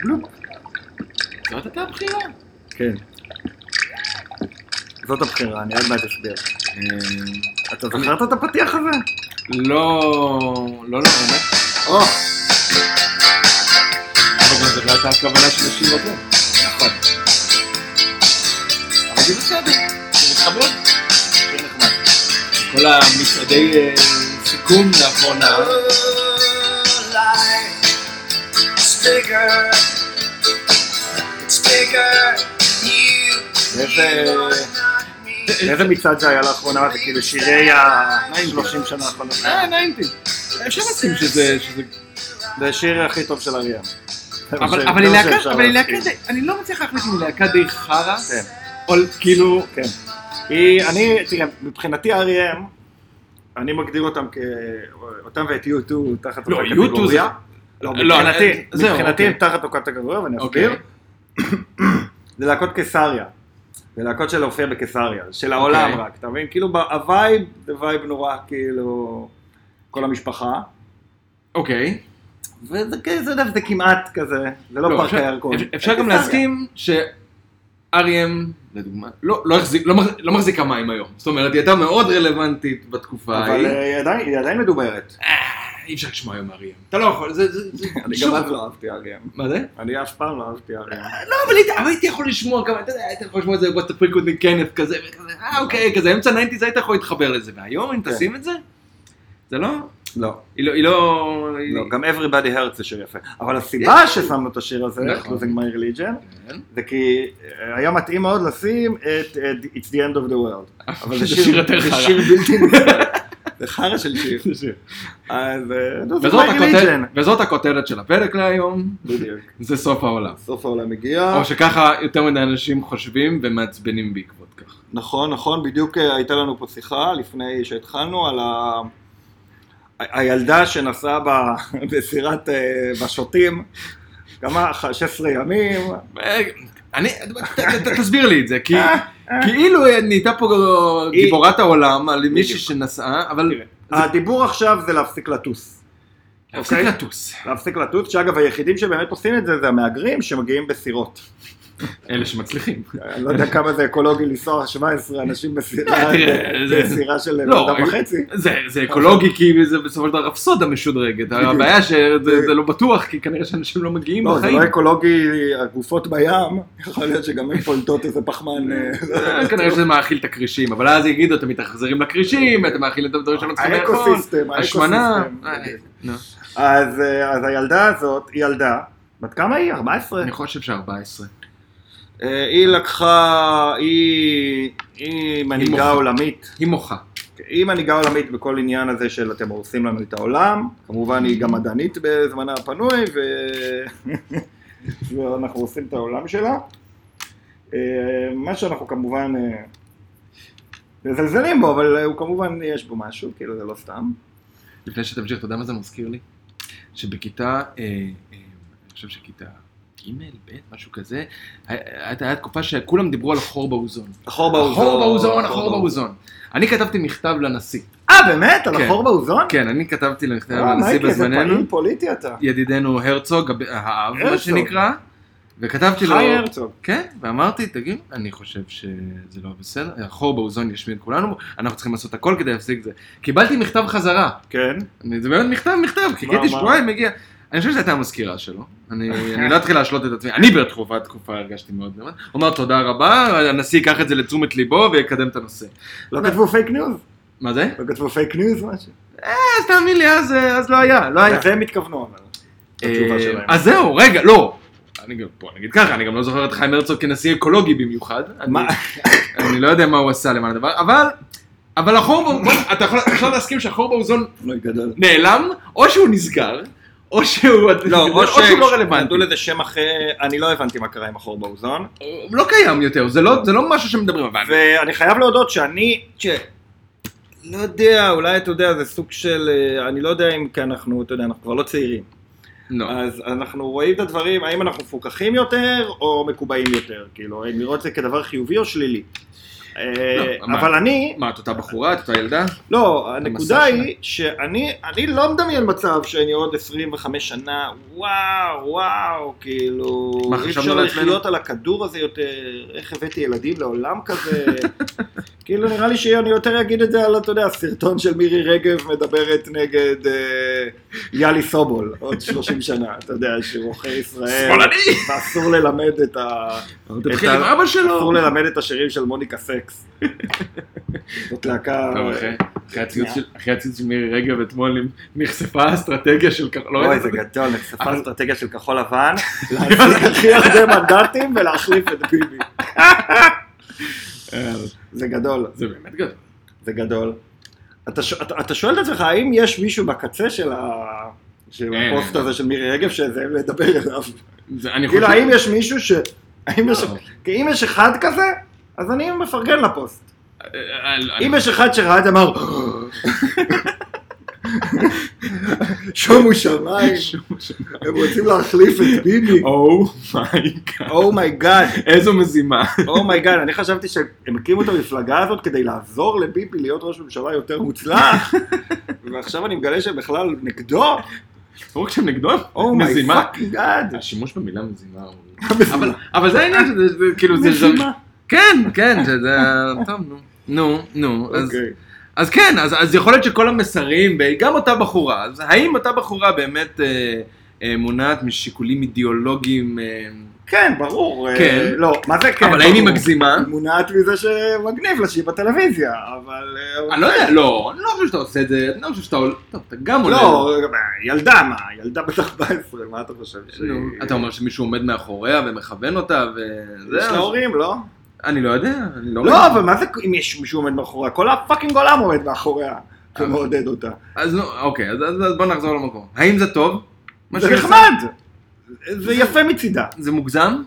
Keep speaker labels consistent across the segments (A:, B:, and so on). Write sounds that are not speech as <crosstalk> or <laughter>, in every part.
A: כלום.
B: זאת הייתה הבחירה.
A: כן. זאת הבחירה, אני עוד מעט אסביר. אתה זוכרת את הפתיח הזה?
B: לא, לא לעומק,
A: או,
B: אבל גם זאת לא הייתה הכוונה של השיר הזה. נכון. אבל זה בסדר, זה מתחבר.
A: הכי נחמד.
B: כל המצעדי אה, סיכום לאחרונה,
A: איזה מצעד זה היה לאחרונה? זה כאילו שירי ה-30 שנה האחרונות.
B: אה, ניינטי. אפשר להסכים שזה, שזה...
A: זה השיר הכי טוב של אריאם.
B: אבל אבל היא להקה, אבל היא להקה די, אני לא מצליח להחליט אם היא להקה די חרא,
A: כן.
B: או כאילו,
A: כן. היא, אני, תראה, מבחינתי R.E.M, אני מגדיר אותם כ... אותם ואת U2 תחת
B: לא,
A: אותה
B: U2 זה-
A: קטגוריה. לא,
B: לא,
A: מבחינתי,
B: זהו,
A: מבחינתי
B: אוקיי.
A: הם תחת אותה קטגוריה, ואני
B: אוקיי.
A: אסביר. זה להקות קיסריה. זה להקות של להופיע בקיסריה, של העולם
B: אוקיי.
A: רק, אתה מבין? כאילו, ב- הווייב זה וייב נורא, כאילו, כל המשפחה.
B: אוקיי.
A: וזה כ- זה דווקא כמעט כזה, זה לא
B: לא,
A: פארק
B: אפשר-
A: הירקון.
B: אפ- אפשר גם
A: קיסריה.
B: להסכים שאריאם, לדוגמה, לא לא החזיק- לא מח- לא מחזיקה מים היום. זאת אומרת, היא הייתה מאוד רלוונטית בתקופה
A: אבל
B: ההיא.
A: אה, היא עדיין- היא עדיין מדוברת.
B: אי אפשר לשמוע היום אריאם. אתה לא יכול, זה... זה- זה-
A: אני
B: שוב-
A: גם אז לא אהבתי אריאם.
B: מה זה?
A: אני אף פעם לא אהבתי אריאם.
B: לא, אבל הייתי- אבל הייתי יכול לשמוע גם, אתה יודע, היית יכול לשמוע את זה, what the freak with me כנף כזה, וכזה, אה אוקיי, כזה אמצע ניינטיז היית יכול להתחבר לזה, והיום אם
A: כן.
B: תשים את זה, זה לא,
A: לא,
B: היא לא, היא לא, היא-
A: לא, גם Everybody Hurts זה שיר יפה. אבל הסיבה ששמנו את השיר הזה,
B: נכון.
A: Losing My Religion,
B: כן.
A: זה כי אה, היה מתאים מאוד לשים את אה, It's the End of the
B: <laughs>
A: World. אבל
B: זה שיר יותר
A: זה
B: חרא.
A: שיר
B: <laughs>
A: בלתי נפרד. זה חרא של שיר. אז אה, Losing
B: וזאת
A: My
B: הכותרת,
A: Religion.
B: וזאת הכותרת של הפרק להיום,
A: בדיוק.
B: זה סוף העולם.
A: סוף העולם הגיע.
B: או שככה יותר מדי אנשים חושבים ומעצבנים בעקבות כך.
A: נכון, נכון, בדיוק אה, הייתה לנו פה שיחה לפני שהתחלנו על ה... ה- הילדה שנסעה ב- <laughs> בסירת אה, בשוטים, כמה, 16 ימים,
B: אה, אני, ת- ת- ת- תסביר לי את <laughs> זה, כי כאילו נהייתה פה
A: היא-
B: גיבורת העולם על מישהי
A: בדיוק.
B: שנסעה, אבל
A: תראה, הדיבור עכשיו זה להפסיק לטוס.
B: להפסיק
A: אוקיי.
B: לטוס.
A: להפסיק לטוס, שאגב היחידים שבאמת עושים את זה זה המהגרים שמגיעים בסירות.
B: אלה שמצליחים.
A: אני לא
B: <laughs>
A: יודע כמה זה אקולוגי לנסוע 17 אנשים בסירה,
B: אה, <laughs>
A: <laughs>
B: תראה, זה-
A: בסירה של
B: לא,
A: אדם וחצי.
B: זה, זה אקולוגי כי זה בסופו של דבר רפסודה משודרגת,
A: בדיוק.
B: הבעיה שזה זה לא בטוח כי כנראה שאנשים לא מגיעים
A: לא, זה
B: בחיים,
A: לא אקולוגי, הגופות בים, <laughs> יכול להיות שגם הן פולטות איזה
B: <laughs>
A: פחמן. אה,
B: אה, כנראה שזה מאכיל את הכרישים, אבל אז יגידו אתם מתאכזרים לכרישים, אתם מאכילים את הדברים שלא צריכים לאכול,
A: האקוסיסטם,
B: אה, נכון. השמנה,
A: האקוסיסטם.
B: אה, נו.
A: אז אה, אז הילדה הזאת, היא ילדה, בת כמה היא? 14?
B: אני חושב ש-14.
A: אה, היא לקחה, היא היא מנהיגה
B: מוחה.
A: עולמית,
B: היא מוחה.
A: היא מנהיגה עולמית בכל עניין הזה של אתם הורסים לנו את העולם, כמובן היא גם מדענית בזמנה הפנוי, ו... ואנחנו הורסים את העולם שלה. אה, מה שאנחנו כמובן אה, מזלזלים בו, אבל אה, הוא כמובן, יש בו משהו, כאילו זה לא סתם.
B: לפני שתמשיך, אתה יודע מה זה מזכיר לי? שבכיתה, אה, אה, אני חושב שכיתה ג', ב', משהו כזה, היה- הייתה הייתה תקופה שכולם דיברו על החור באוזון.
A: החור
B: החור באוזון, החור באוזון. אני כתבתי מכתב לנשיא.
A: אה, באמת? על
B: כן.
A: החור באוזון?
B: כן, אני כתבתי למכתב
A: אה,
B: לנשיא
A: מייקי, איזה
B: בזמננו,
A: פעיל פוליטי אתה.
B: ידידנו הרצוג, הב- האב, מה
A: הרצוג.
B: שנקרא, וכתבתי לו,
A: חי הרצוג.
B: כן, ואמרתי, תגיד, אני חושב שזה לא בסדר, החור באוזון ישמיד כולנו, אנחנו צריכים לעשות הכל כדי להפסיק את זה. קיבלתי מכתב חזרה,
A: כן.
B: אני- זה באמת מכתב, מכתב, חיכיתי
A: מה?
B: שבועיים, הגיע. אני חושב שזו הייתה המזכירה שלו, אני אני לא אתחיל להשלות את עצמי, אני בתקופה תקופה הרגשתי מאוד נאמן, הוא אמר תודה רבה, הנשיא ייקח את זה לתשומת ליבו ויקדם את הנושא.
A: לא כתבו פייק ניוז?
B: מה זה?
A: לא כתבו פייק ניוז משהו?
B: אז תאמין לי, אז אז לא היה, לא היה.
A: לזה הם התכוונו אבל.
B: אה,
A: התשובה שלהם.
B: אז זהו, רגע, לא. אני גם, בוא נגיד ככה, אני גם לא זוכר את חיים הרצוג כנשיא אקולוגי במיוחד. אני-
A: מה?
B: אני לא יודע מה הוא עשה למען הדבר, אבל... אבל החור, באו- בוא, אתה יכול, אפשר להסכים שהחור באוזון
A: אוי, גדול.
B: נעלם, או שהוא נסגר, או שהוא, או שהוא לא רלוונטי.
A: נתנו לזה שם אחר, אני לא הבנתי מה קרה עם החור באוזון.
B: הוא לא קיים יותר, זה לא, זה לא משהו שמדברים עליו.
A: ואני חייב להודות שאני, ש... לא יודע, אולי אתה יודע, זה סוג של, אה, אני לא יודע אם כי אנחנו, אתה יודע, אנחנו כבר לא צעירים.
B: לא.
A: אז אנחנו רואים את הדברים, האם אנחנו מפוקחים יותר או מקובעים יותר, כאילו, האם לראות את זה כדבר חיובי או שלילי. אה,
B: לא, מה?
A: אבל אני,
B: מה, את אותה בחורה, את אותה ילדה?
A: לא, הנקודה
B: המסע
A: היא שאני אני לא מדמיין מצב שאני עוד 25 שנה, וואו, וואו, כאילו,
B: מה,
A: אי
B: חשבנו
A: אפשר
B: לעצמנו?
A: לחיות על הכדור הזה יותר, איך הבאתי ילדים לעולם כזה, <laughs> כאילו נראה לי שאני יותר אגיד את זה על, אתה יודע, סרטון של מירי רגב מדברת נגד אה, יאלי סובול, עוד 30 שנה, אתה יודע, שרוחי ישראל,
B: שמאלני!
A: ואסור ללמד את ה...
B: תתחיל עם אבא שלו!
A: אסור ללמד את השירים של מוניקה
B: <laughs>
A: סקס. זאת להקה...
B: טוב, אחרי- אחרי הציוץ של- אחרי הציוץ של מירי רגב אתמול עם- נחשפה האסטרטגיה של כחול. לא
A: אוי,
B: ראית
A: זה
B: את זה?
A: גדול, נחשפה
B: אבל-
A: אסטרטגיה של כחול לבן,
B: <laughs>
A: להחזיק הכי הרבה מנדטים ולהחליף את ביבי.
B: אה,
A: זה גדול,
B: זה באמת גדול.
A: זה גדול. אתה ש- אתה- אתה שואל את עצמך, האם יש מישהו בקצה של ה- של
B: אין.
A: הפוסט הזה של מירי רגב שזה מדבר אליו?
B: זה- כן. אני
A: כאילו,
B: חושב-
A: האם יש מישהו ש... האם יש...
B: לא.
A: כי אם יש אחד כזה, אז אני מפרגן לפוסט.
B: אה, אה, לא,
A: אם יש אחד שראה את זה אמר, "אה." שומו שמיים, הם רוצים להחליף את ביבי. Oh
B: Oh my god.
A: אומייגאד,
B: איזו מזימה.
A: אומייגאד, Oh אני חשבתי שהם הקימו את המפלגה הזאת כדי לעזור לביבי להיות ראש ממשלה יותר מוצלח, ועכשיו אני מגלה שהם בכלל נגדו, Oh
B: לא רק שהם נגדו,
A: אומייגאד.
B: מזימה. השימוש במילה מזימה. הוא-
A: מזימה.
B: אבל- אבל זה העניין, שזה- זה כאילו זה... זה-
A: אה, מזימה.
B: כן, כן, שזה... טוב, נו. נו, נו, אז-
A: אוקיי.
B: אז כן, אז, אז יכול להיות שכל המסרים, גם אותה בחורה, אז האם אותה בחורה באמת אה, אה, מונעת משיקולים אידיאולוגיים, אה,
A: כן, ברור. אה,
B: כן.
A: לא, מה זה כן?
B: אבל האם היא
A: ברור.
B: מגזימה?
A: היא מונעת מזה שמגניב לה שהיא בטלוויזיה, אבל... אה,
B: אני לא יודע, לא, אני לא חושב שאתה עושה את זה, אני לא חושב שאתה עול... טוב, אתה גם עולה.
A: לא, ילדה מה, ילדה בת 14, מה אתה חושב? שהיא-
B: נו, אתה אומר שמישהו עומד מאחוריה ומכוון אותה וזה...
A: יש לה הורים, לא?
B: אני לא יודע, אני לא...
A: לא,
B: ראיתי.
A: אבל מה זה אם יש מישהו עומד מאחוריה? כל הפאקינג עולם עומד מאחוריה ומעודד אותה.
B: אז נו, אוקיי, אז, אז, אז בוא נחזור למקום. האם זה טוב? מה
A: זה
B: שהיא עושה?
A: נחמד! זה יפה מצידה.
B: זה מוגזם?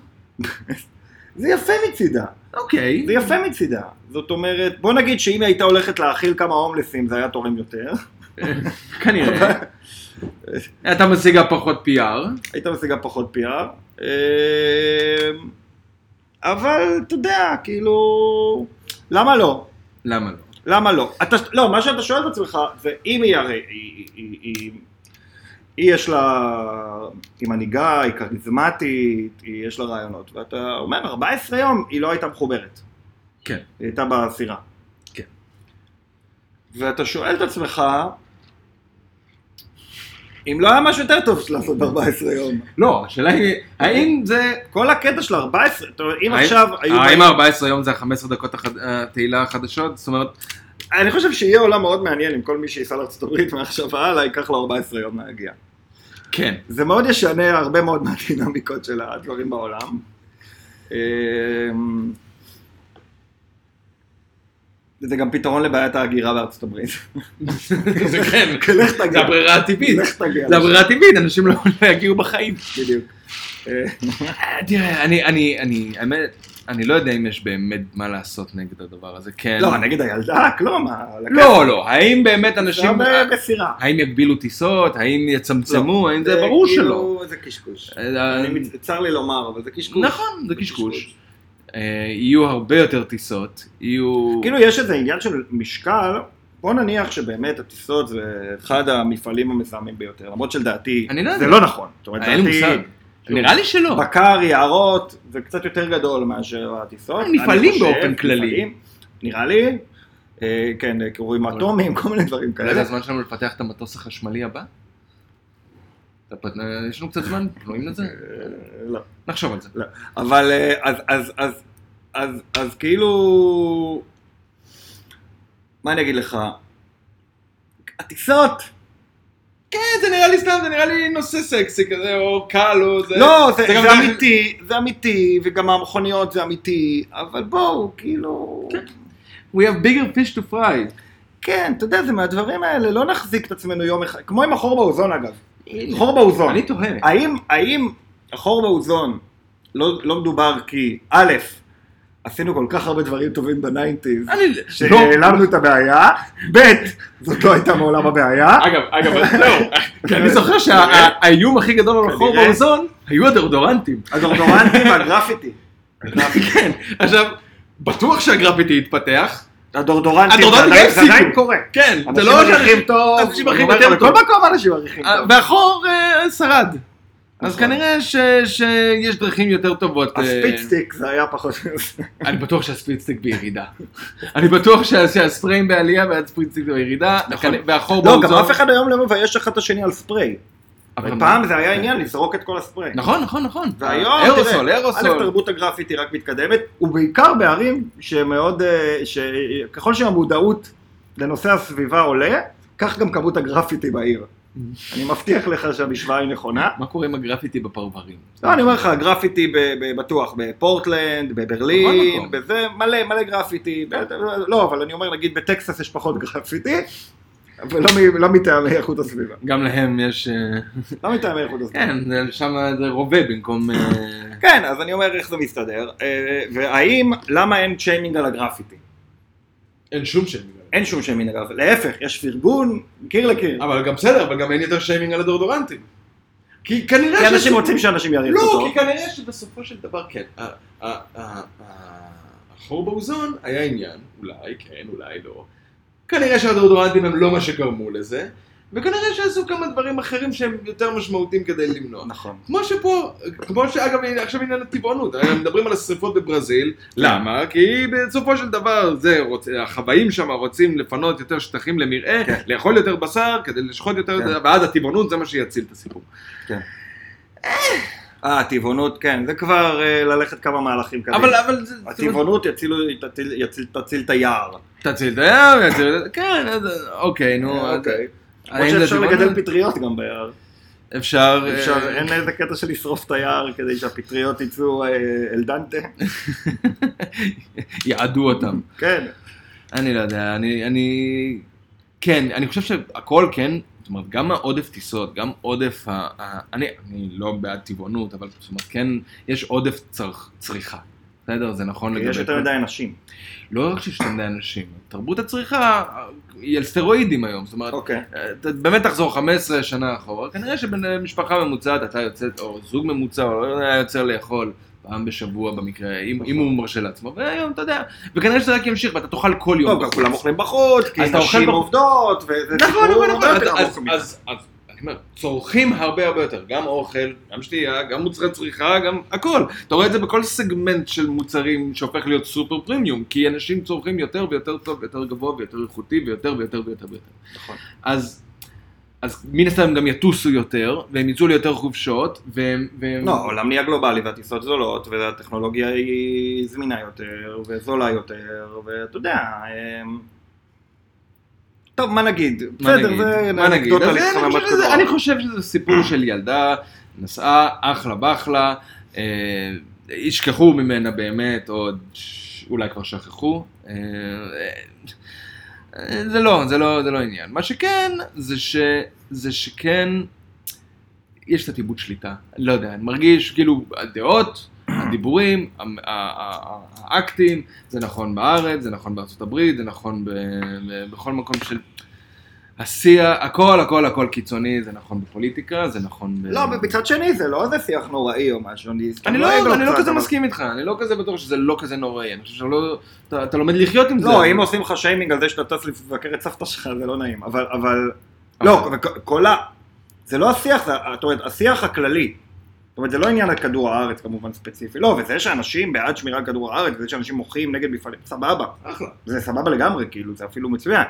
A: זה יפה מצידה.
B: אוקיי.
A: זה יפה מצידה. זאת אומרת, בוא נגיד שאם היא הייתה הולכת להאכיל כמה הומלסים זה היה תורם יותר.
B: כנראה. אתה משיגה פחות PR.
A: הייתה משיגה פחות PR. אמ, אבל אתה יודע, כאילו... למה לא?
B: למה לא?
A: למה לא? אתה, לא, מה שאתה שואל את עצמך, זה אם היא הרי, היא, היא, היא, היא יש לה, היא מנהיגה, היא כריזמטית, היא יש לה רעיונות, ואתה אומר, 14 יום היא לא הייתה מחוברת.
B: כן.
A: היא הייתה בסירה.
B: כן.
A: ואתה שואל את עצמך, אם לא היה משהו יותר טוב לעשות ב-14 יום.
B: לא, השאלה היא, האם זה...
A: כל הקטע של 14, אתה אומר, אם
B: האם-
A: עכשיו היו...
B: האם ה-14 יום זה ה-15 דקות החד- התהילה החדשות? זאת אומרת,
A: אני חושב שיהיה עולם מאוד מעניין אם כל מי שייסע לארה"ב מעכשיו והלאה ייקח לו 14 יום להגיע.
B: כן.
A: זה מאוד ישנה הרבה מאוד מהדינמיקות של הדברים בעולם. אמ, זה גם פתרון לבעיית ההגירה בארצות הברית.
B: <laughs>
A: <laughs>
B: זה כן,
A: לך תגיע.
B: זה הברירה הטבעית.
A: לך תגיע.
B: זה הברירה הטבעית, אנשים לא <laughs> לא יגיעו בחיים.
A: בדיוק. אה,
B: אה, תראה, אני, אני, אני, האמת, אני לא יודע אם יש באמת מה לעשות נגד הדבר הזה, כן.
A: לא, נגד הילדה, כלום. ה-
B: לא, לא, האם באמת אנשים...
A: שם אה, בסירה.
B: האם יגבילו טיסות? האם יצמצמו? האם לא. זה
A: זה
B: ברור
A: כאילו-
B: שלא.
A: זה קשקוש.
B: אה,
A: אני מצ- צר לי לומר, אבל זה קשקוש.
B: נכון, זה קשקוש. אה, יהיו הרבה יותר טיסות, יהיו...
A: כאילו יש איזה עניין של משקל, בוא נניח שבאמת הטיסות זה אחד המפעלים המזהמים ביותר, למרות שלדעתי
B: אני לא
A: זה
B: יודע.
A: לא נכון. זאת אומרת,
B: אין לי
A: לדעתי,
B: מושג. לא. נראה לי שלא.
A: בקר, יערות, זה קצת יותר גדול מאשר הטיסות.
B: הם מפעלים
A: אני חושב,
B: באופן כללי.
A: מפעלים, נראה לי, אה, כן, קירויים
B: אבל-
A: אטומיים, כל מיני דברים
B: אולי זה
A: כאלה.
B: הזמן שלנו לפתח את המטוס החשמלי הבא? אתה פת- יש לנו קצת זמן? פנויים לזה?
A: אה, לא.
B: נחשוב על זה.
A: אבל אה, אז, אז, אז, אז, אז כאילו, מה אני אגיד לך? הטיסות,
B: כן, זה נראה לי סתם, זה נראה לי נושא סקסי כזה, או קל, או זה...
A: לא, זה, זה,
B: גם-
A: אמיתי, זה אמיתי, וגם המכוניות זה אמיתי, אבל בואו, כאילו...
B: כן. We have bigger fish to fry.
A: כן, אתה יודע, זה מהדברים האלה, לא נחזיק את עצמנו יום אחד, כמו עם החור באוזון אגב. חור באוזון.
B: אני תוהה.
A: האם, האם החור באוזון לא, לא מדובר כי, א', עשינו כל כך הרבה דברים טובים בניינטיז,
B: אני... לא.
A: שהעלמנו את הבעיה, ב', זאת לא הייתה מעולם הבעיה,
B: אגב, אגב, <laughs> זהו. כי אני זוכר שהאיום הכי גדול על החור
A: כנראה.
B: אה. באוזון היו הדאודורנטים. <laughs>
A: הדורדורנטים והגרפיטי.
B: כן. עכשיו, בטוח שהגרפיטי התפתח.
A: הדורדורנטים, זה
B: הדורדורנטים
A: עדיין- זה
B: הפסיקו.
A: עדיין קורה.
B: כן, זה
A: אנשים
B: לא...
A: מריחים טוב,
B: אנשים מריחים
A: אני אומר לך,
B: יותר טוב.
A: בכל מקום אנשים מריחים
B: אה,
A: טוב.
B: והחור אה, שרד. אז
A: נכון.
B: כנראה ש- שיש דרכים יותר טובות. אה,
A: הספיצטיק זה היה פחות...
B: אני בטוח שהספיצטיק בירידה. אני בטוח שה- שהספריים בעלייה והספיצטיק בירידה,
A: נכון.
B: וכנ- והחור
A: לא,
B: באוזון.
A: גם אף אחד היום לא מבייש אחד את השני על ספרי.
B: אבל-
A: פעם זה היה עניין לזרוק את כל הספרי.
B: נכון, נכון, נכון.
A: והיום,
B: אירוסול,
A: תראה, א',
B: אירוסול.
A: תרבות הגרפיטי רק מתקדמת, ובעיקר בערים שמאוד, אה, שככל שהמודעות לנושא הסביבה עולה, כך גם כמות הגרפיטי
B: <laughs>
A: בעיר. אני מבטיח לך שהמשוואה היא נכונה.
B: מה קורה עם הגרפיטי בפרברים?
A: לא, אני אומר לך, גרפיטי ב- ב- בטוח, בפורטלנד,
B: בכל
A: בברלין,
B: מקום. כן.
A: בזה, מלא, מלא גרפיטי. ב- לא, אבל אני אומר, נגיד בטקסס יש פחות גרפיטי, ולא מ- לא מטעמי איכות הסביבה.
B: גם להם יש... אה,
A: לא מטעמי איכות הסביבה.
B: כן, זה- שם זה רובה במקום... אה,
A: כן, אז אני אומר איך זה מסתדר, אה, והאם, למה אין שיימינג על הגרפיטי?
B: אין שום שיימינג.
A: אין שום שיימינג על הגרפיטי, להפך, יש פרגון מקיר לקיר.
B: אבל גם בסדר, אבל גם אין יותר שיימינג על הדורדורנטים. כי כנראה...
A: כי אנשים
B: שזה-
A: רוצים שאנשים יריבו
B: לא,
A: אותו.
B: כי כנראה שבסופו של דבר כן. ה- ה- ה- ה- החור באוזון היה עניין, אולי כן, אולי לא. כנראה שהדאודורנטים הם לא מה שגרמו לזה, וכנראה שעשו כמה דברים אחרים שהם יותר משמעותיים כדי למנוע.
A: נכון.
B: כמו שפה, כמו שאגב הנה, עכשיו עניין הטבעונות, הם מדברים על השרפות בברזיל, למה? כי בסופו של דבר זה, רוצ... החוואים שם רוצים לפנות יותר שטחים למרעה,
A: כן.
B: לאכול יותר בשר, כדי לשחוט יותר,
A: כן.
B: ואז הטבעונות זה מה שיציל את הסיפור.
A: אה, הטבעונות, כן, זה כבר אה, ללכת כמה מהלכים קדימה.
B: אבל, אבל, זה-
A: הטבעונות יצילו- תציל- יציל- תציל את היער.
B: תציל את הים, יציל את ה... כן, אז- אוקיי, נו.
A: אוקיי.
B: אז-
A: כמו
B: האם זה
A: שאפשר
B: טבעונות?
A: לגדל פטריות גם ביער.
B: אפשר... אה,
A: אפשר, אין איזה קטע של לשרוף את היער כדי שהפטריות יצאו אה, אל דנטה.
B: יעדו אותם.
A: כן.
B: אני לא יודע, אני... אני... כן, אני חושב שהכל כן, זאת אומרת, גם העודף טיסות, גם עודף ה... ה- אני, אני לא בעד טבעונות, אבל זאת אומרת, כן, יש עודף צרכ- צריכה. בסדר, זה נכון
A: יש יותר
B: כל-
A: מדי אנשים.
B: לא רק שיש יותר מדי אנשים, תרבות הצריכה אה, היא על סטרואידים היום, זאת אומרת,
A: אוקיי.
B: אתה באמת תחזור 15 שנה אחורה, כנראה שבמשפחה ממוצעת אתה יוצא, או זוג ממוצע, או לא יודע, יוצא לאכול פעם בשבוע במקרה, אם, אם הוא מרשה לעצמו, והיום אתה יודע, וכנראה שזה רק ימשיך, ואתה תאכל כל יום.
A: טוב, גם
B: בחוץ.
A: כולם אוכלים בחוץ, כי
B: אה, אז אתה אוכל
A: נשים
B: בחוץ.
A: עובדות, וזה
B: נכון,
A: סיפור
B: נכון,
A: הרבה
B: נכון,
A: יותר
B: אז-
A: עמוק מזה.
B: אז אז אני אומר, צורכים הרבה הרבה יותר, גם אוכל, גם שתייה, גם מוצרי צריכה, גם הכל. אתה רואה את זה בכל סגמנט של מוצרים שהופך להיות סופר פרימיום, כי אנשים צורכים יותר ויותר טוב, יותר גבוה ויותר איכותי ויותר ויותר ויותר ויותר.
A: נכון.
B: אז, אז מן הסתם הם גם יטוסו יותר, והם יצאו ליותר חופשות, והם... והם...
A: לא, העולם נהיה גלובלי והטיסות זולות, והטכנולוגיה היא זמינה יותר, וזולה יותר, ואתה יודע... אמ, טוב, מה נגיד?
B: מה
A: בסדר,
B: נגיד?
A: זה
B: מה נגיד?
A: אנקדוטה
B: אז אני
A: להתחמם
B: חושב שזה-
A: בתקופה.
B: אני חושב שזה סיפור של ילדה, נסעה אחלה בחלה, אה, ישכחו ממנה באמת, עוד ש- אולי כבר שכחו. אה, אה, זה לא, זה לא, זה לא עניין. מה שכן, זה, ש, זה שכן, יש קצת איבוד שליטה. לא יודע, אני מרגיש כאילו הדעות, הדיבורים, ה- ה- ה- האקטים, זה נכון בארץ, זה נכון בארצות הברית, זה נכון ב- ב- בכל מקום של... השיח, הכל הכל הכל קיצוני, זה נכון בפוליטיקה, זה נכון ב...
A: לא, מצד שני זה לא איזה שיח נוראי או משהו, אני סתם
B: אני לא,
A: אוהב
B: אני לא
A: אותו,
B: כזה
A: אבל-
B: מסכים איתך, אני לא כזה בטוח שזה לא כזה נוראי, אני חושב שלא, אתה, אתה לומד לחיות עם זה.
A: לא, אם עושים לך שיימינג על זה שאתה טס לבקר את סבתא שלך, זה לא נעים, אבל, אבל,
B: אבל-
A: לא, וכ- כל ה... זה לא השיח, זה, זאת אומרת, השיח הכללי. זאת אומרת, זה לא עניין לכדור הארץ כמובן ספציפי, לא, וזה שאנשים בעד שמירה על כדור הארץ, וזה שאנשים מוחים נגד מפעלים, סבבה.
B: אחלה.
A: זה סבבה לגמרי, כאילו, זה אפילו מצוין.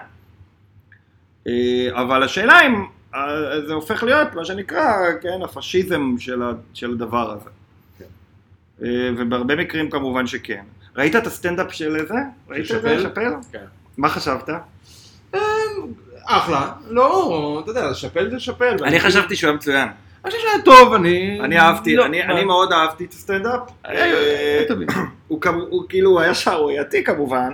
A: אה, אבל השאלה אם אה, זה הופך להיות, מה שנקרא, כן, הפשיזם של, ה, של הדבר הזה. אה, ובהרבה מקרים כמובן שכן. ראית את הסטנדאפ של זה? ראית את זה?
B: שאפל?
A: שאפל?
B: כן.
A: מה חשבת?
B: אחלה, לא, אתה יודע, שפל זה שפל.
A: אני חשבתי שהוא היה מצוין.
B: אני חושב שהיה טוב, אני...
A: אני אהבתי,
B: לא,
A: אני
B: מה- אה,
A: אני מאוד אהבתי את הסטנדאפ. אה,
B: היה- היה
A: לא
B: טובים.
A: הוא כמו- הוא כאילו היה שערורייתי כמובן.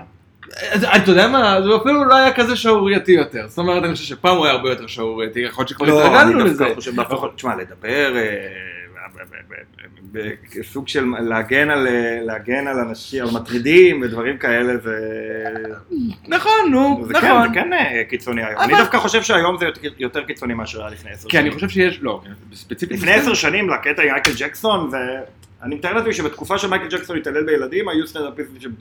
B: אז- אה, אתה יודע מה, זה אפילו לא היה כזה שערורייתי יותר. זאת אומרת, אני חושב שפעם הוא היה הרבה יותר שערורייתי, יכול להיות שכבר התרגלנו
A: לא, אני
B: לזה.
A: דווקא חושב להפוך, תשמע, לדבר, אה, ב- ב- ב- ב- בסוג של להגן על, אה, להגן על אנשים, על מטרידים ודברים כאלה, זה
B: נכון, נו,
A: זה כן,
B: נכון.
A: זה כן אה, קיצוני היום.
B: אבל-
A: אני דווקא חושב שהיום זה יותר- יותר קיצוני מאשר היה לפני עשר
B: כי אני
A: שנים.
B: חושב שיש, לא, ספציפית.
A: לפני עשר שנים לקטע עם מייקל ג'קסון, זה אני מתאר לעצמי שבתקופה שמייקל ג'קסון התעלל בילדים, היו סטנדאפיסטים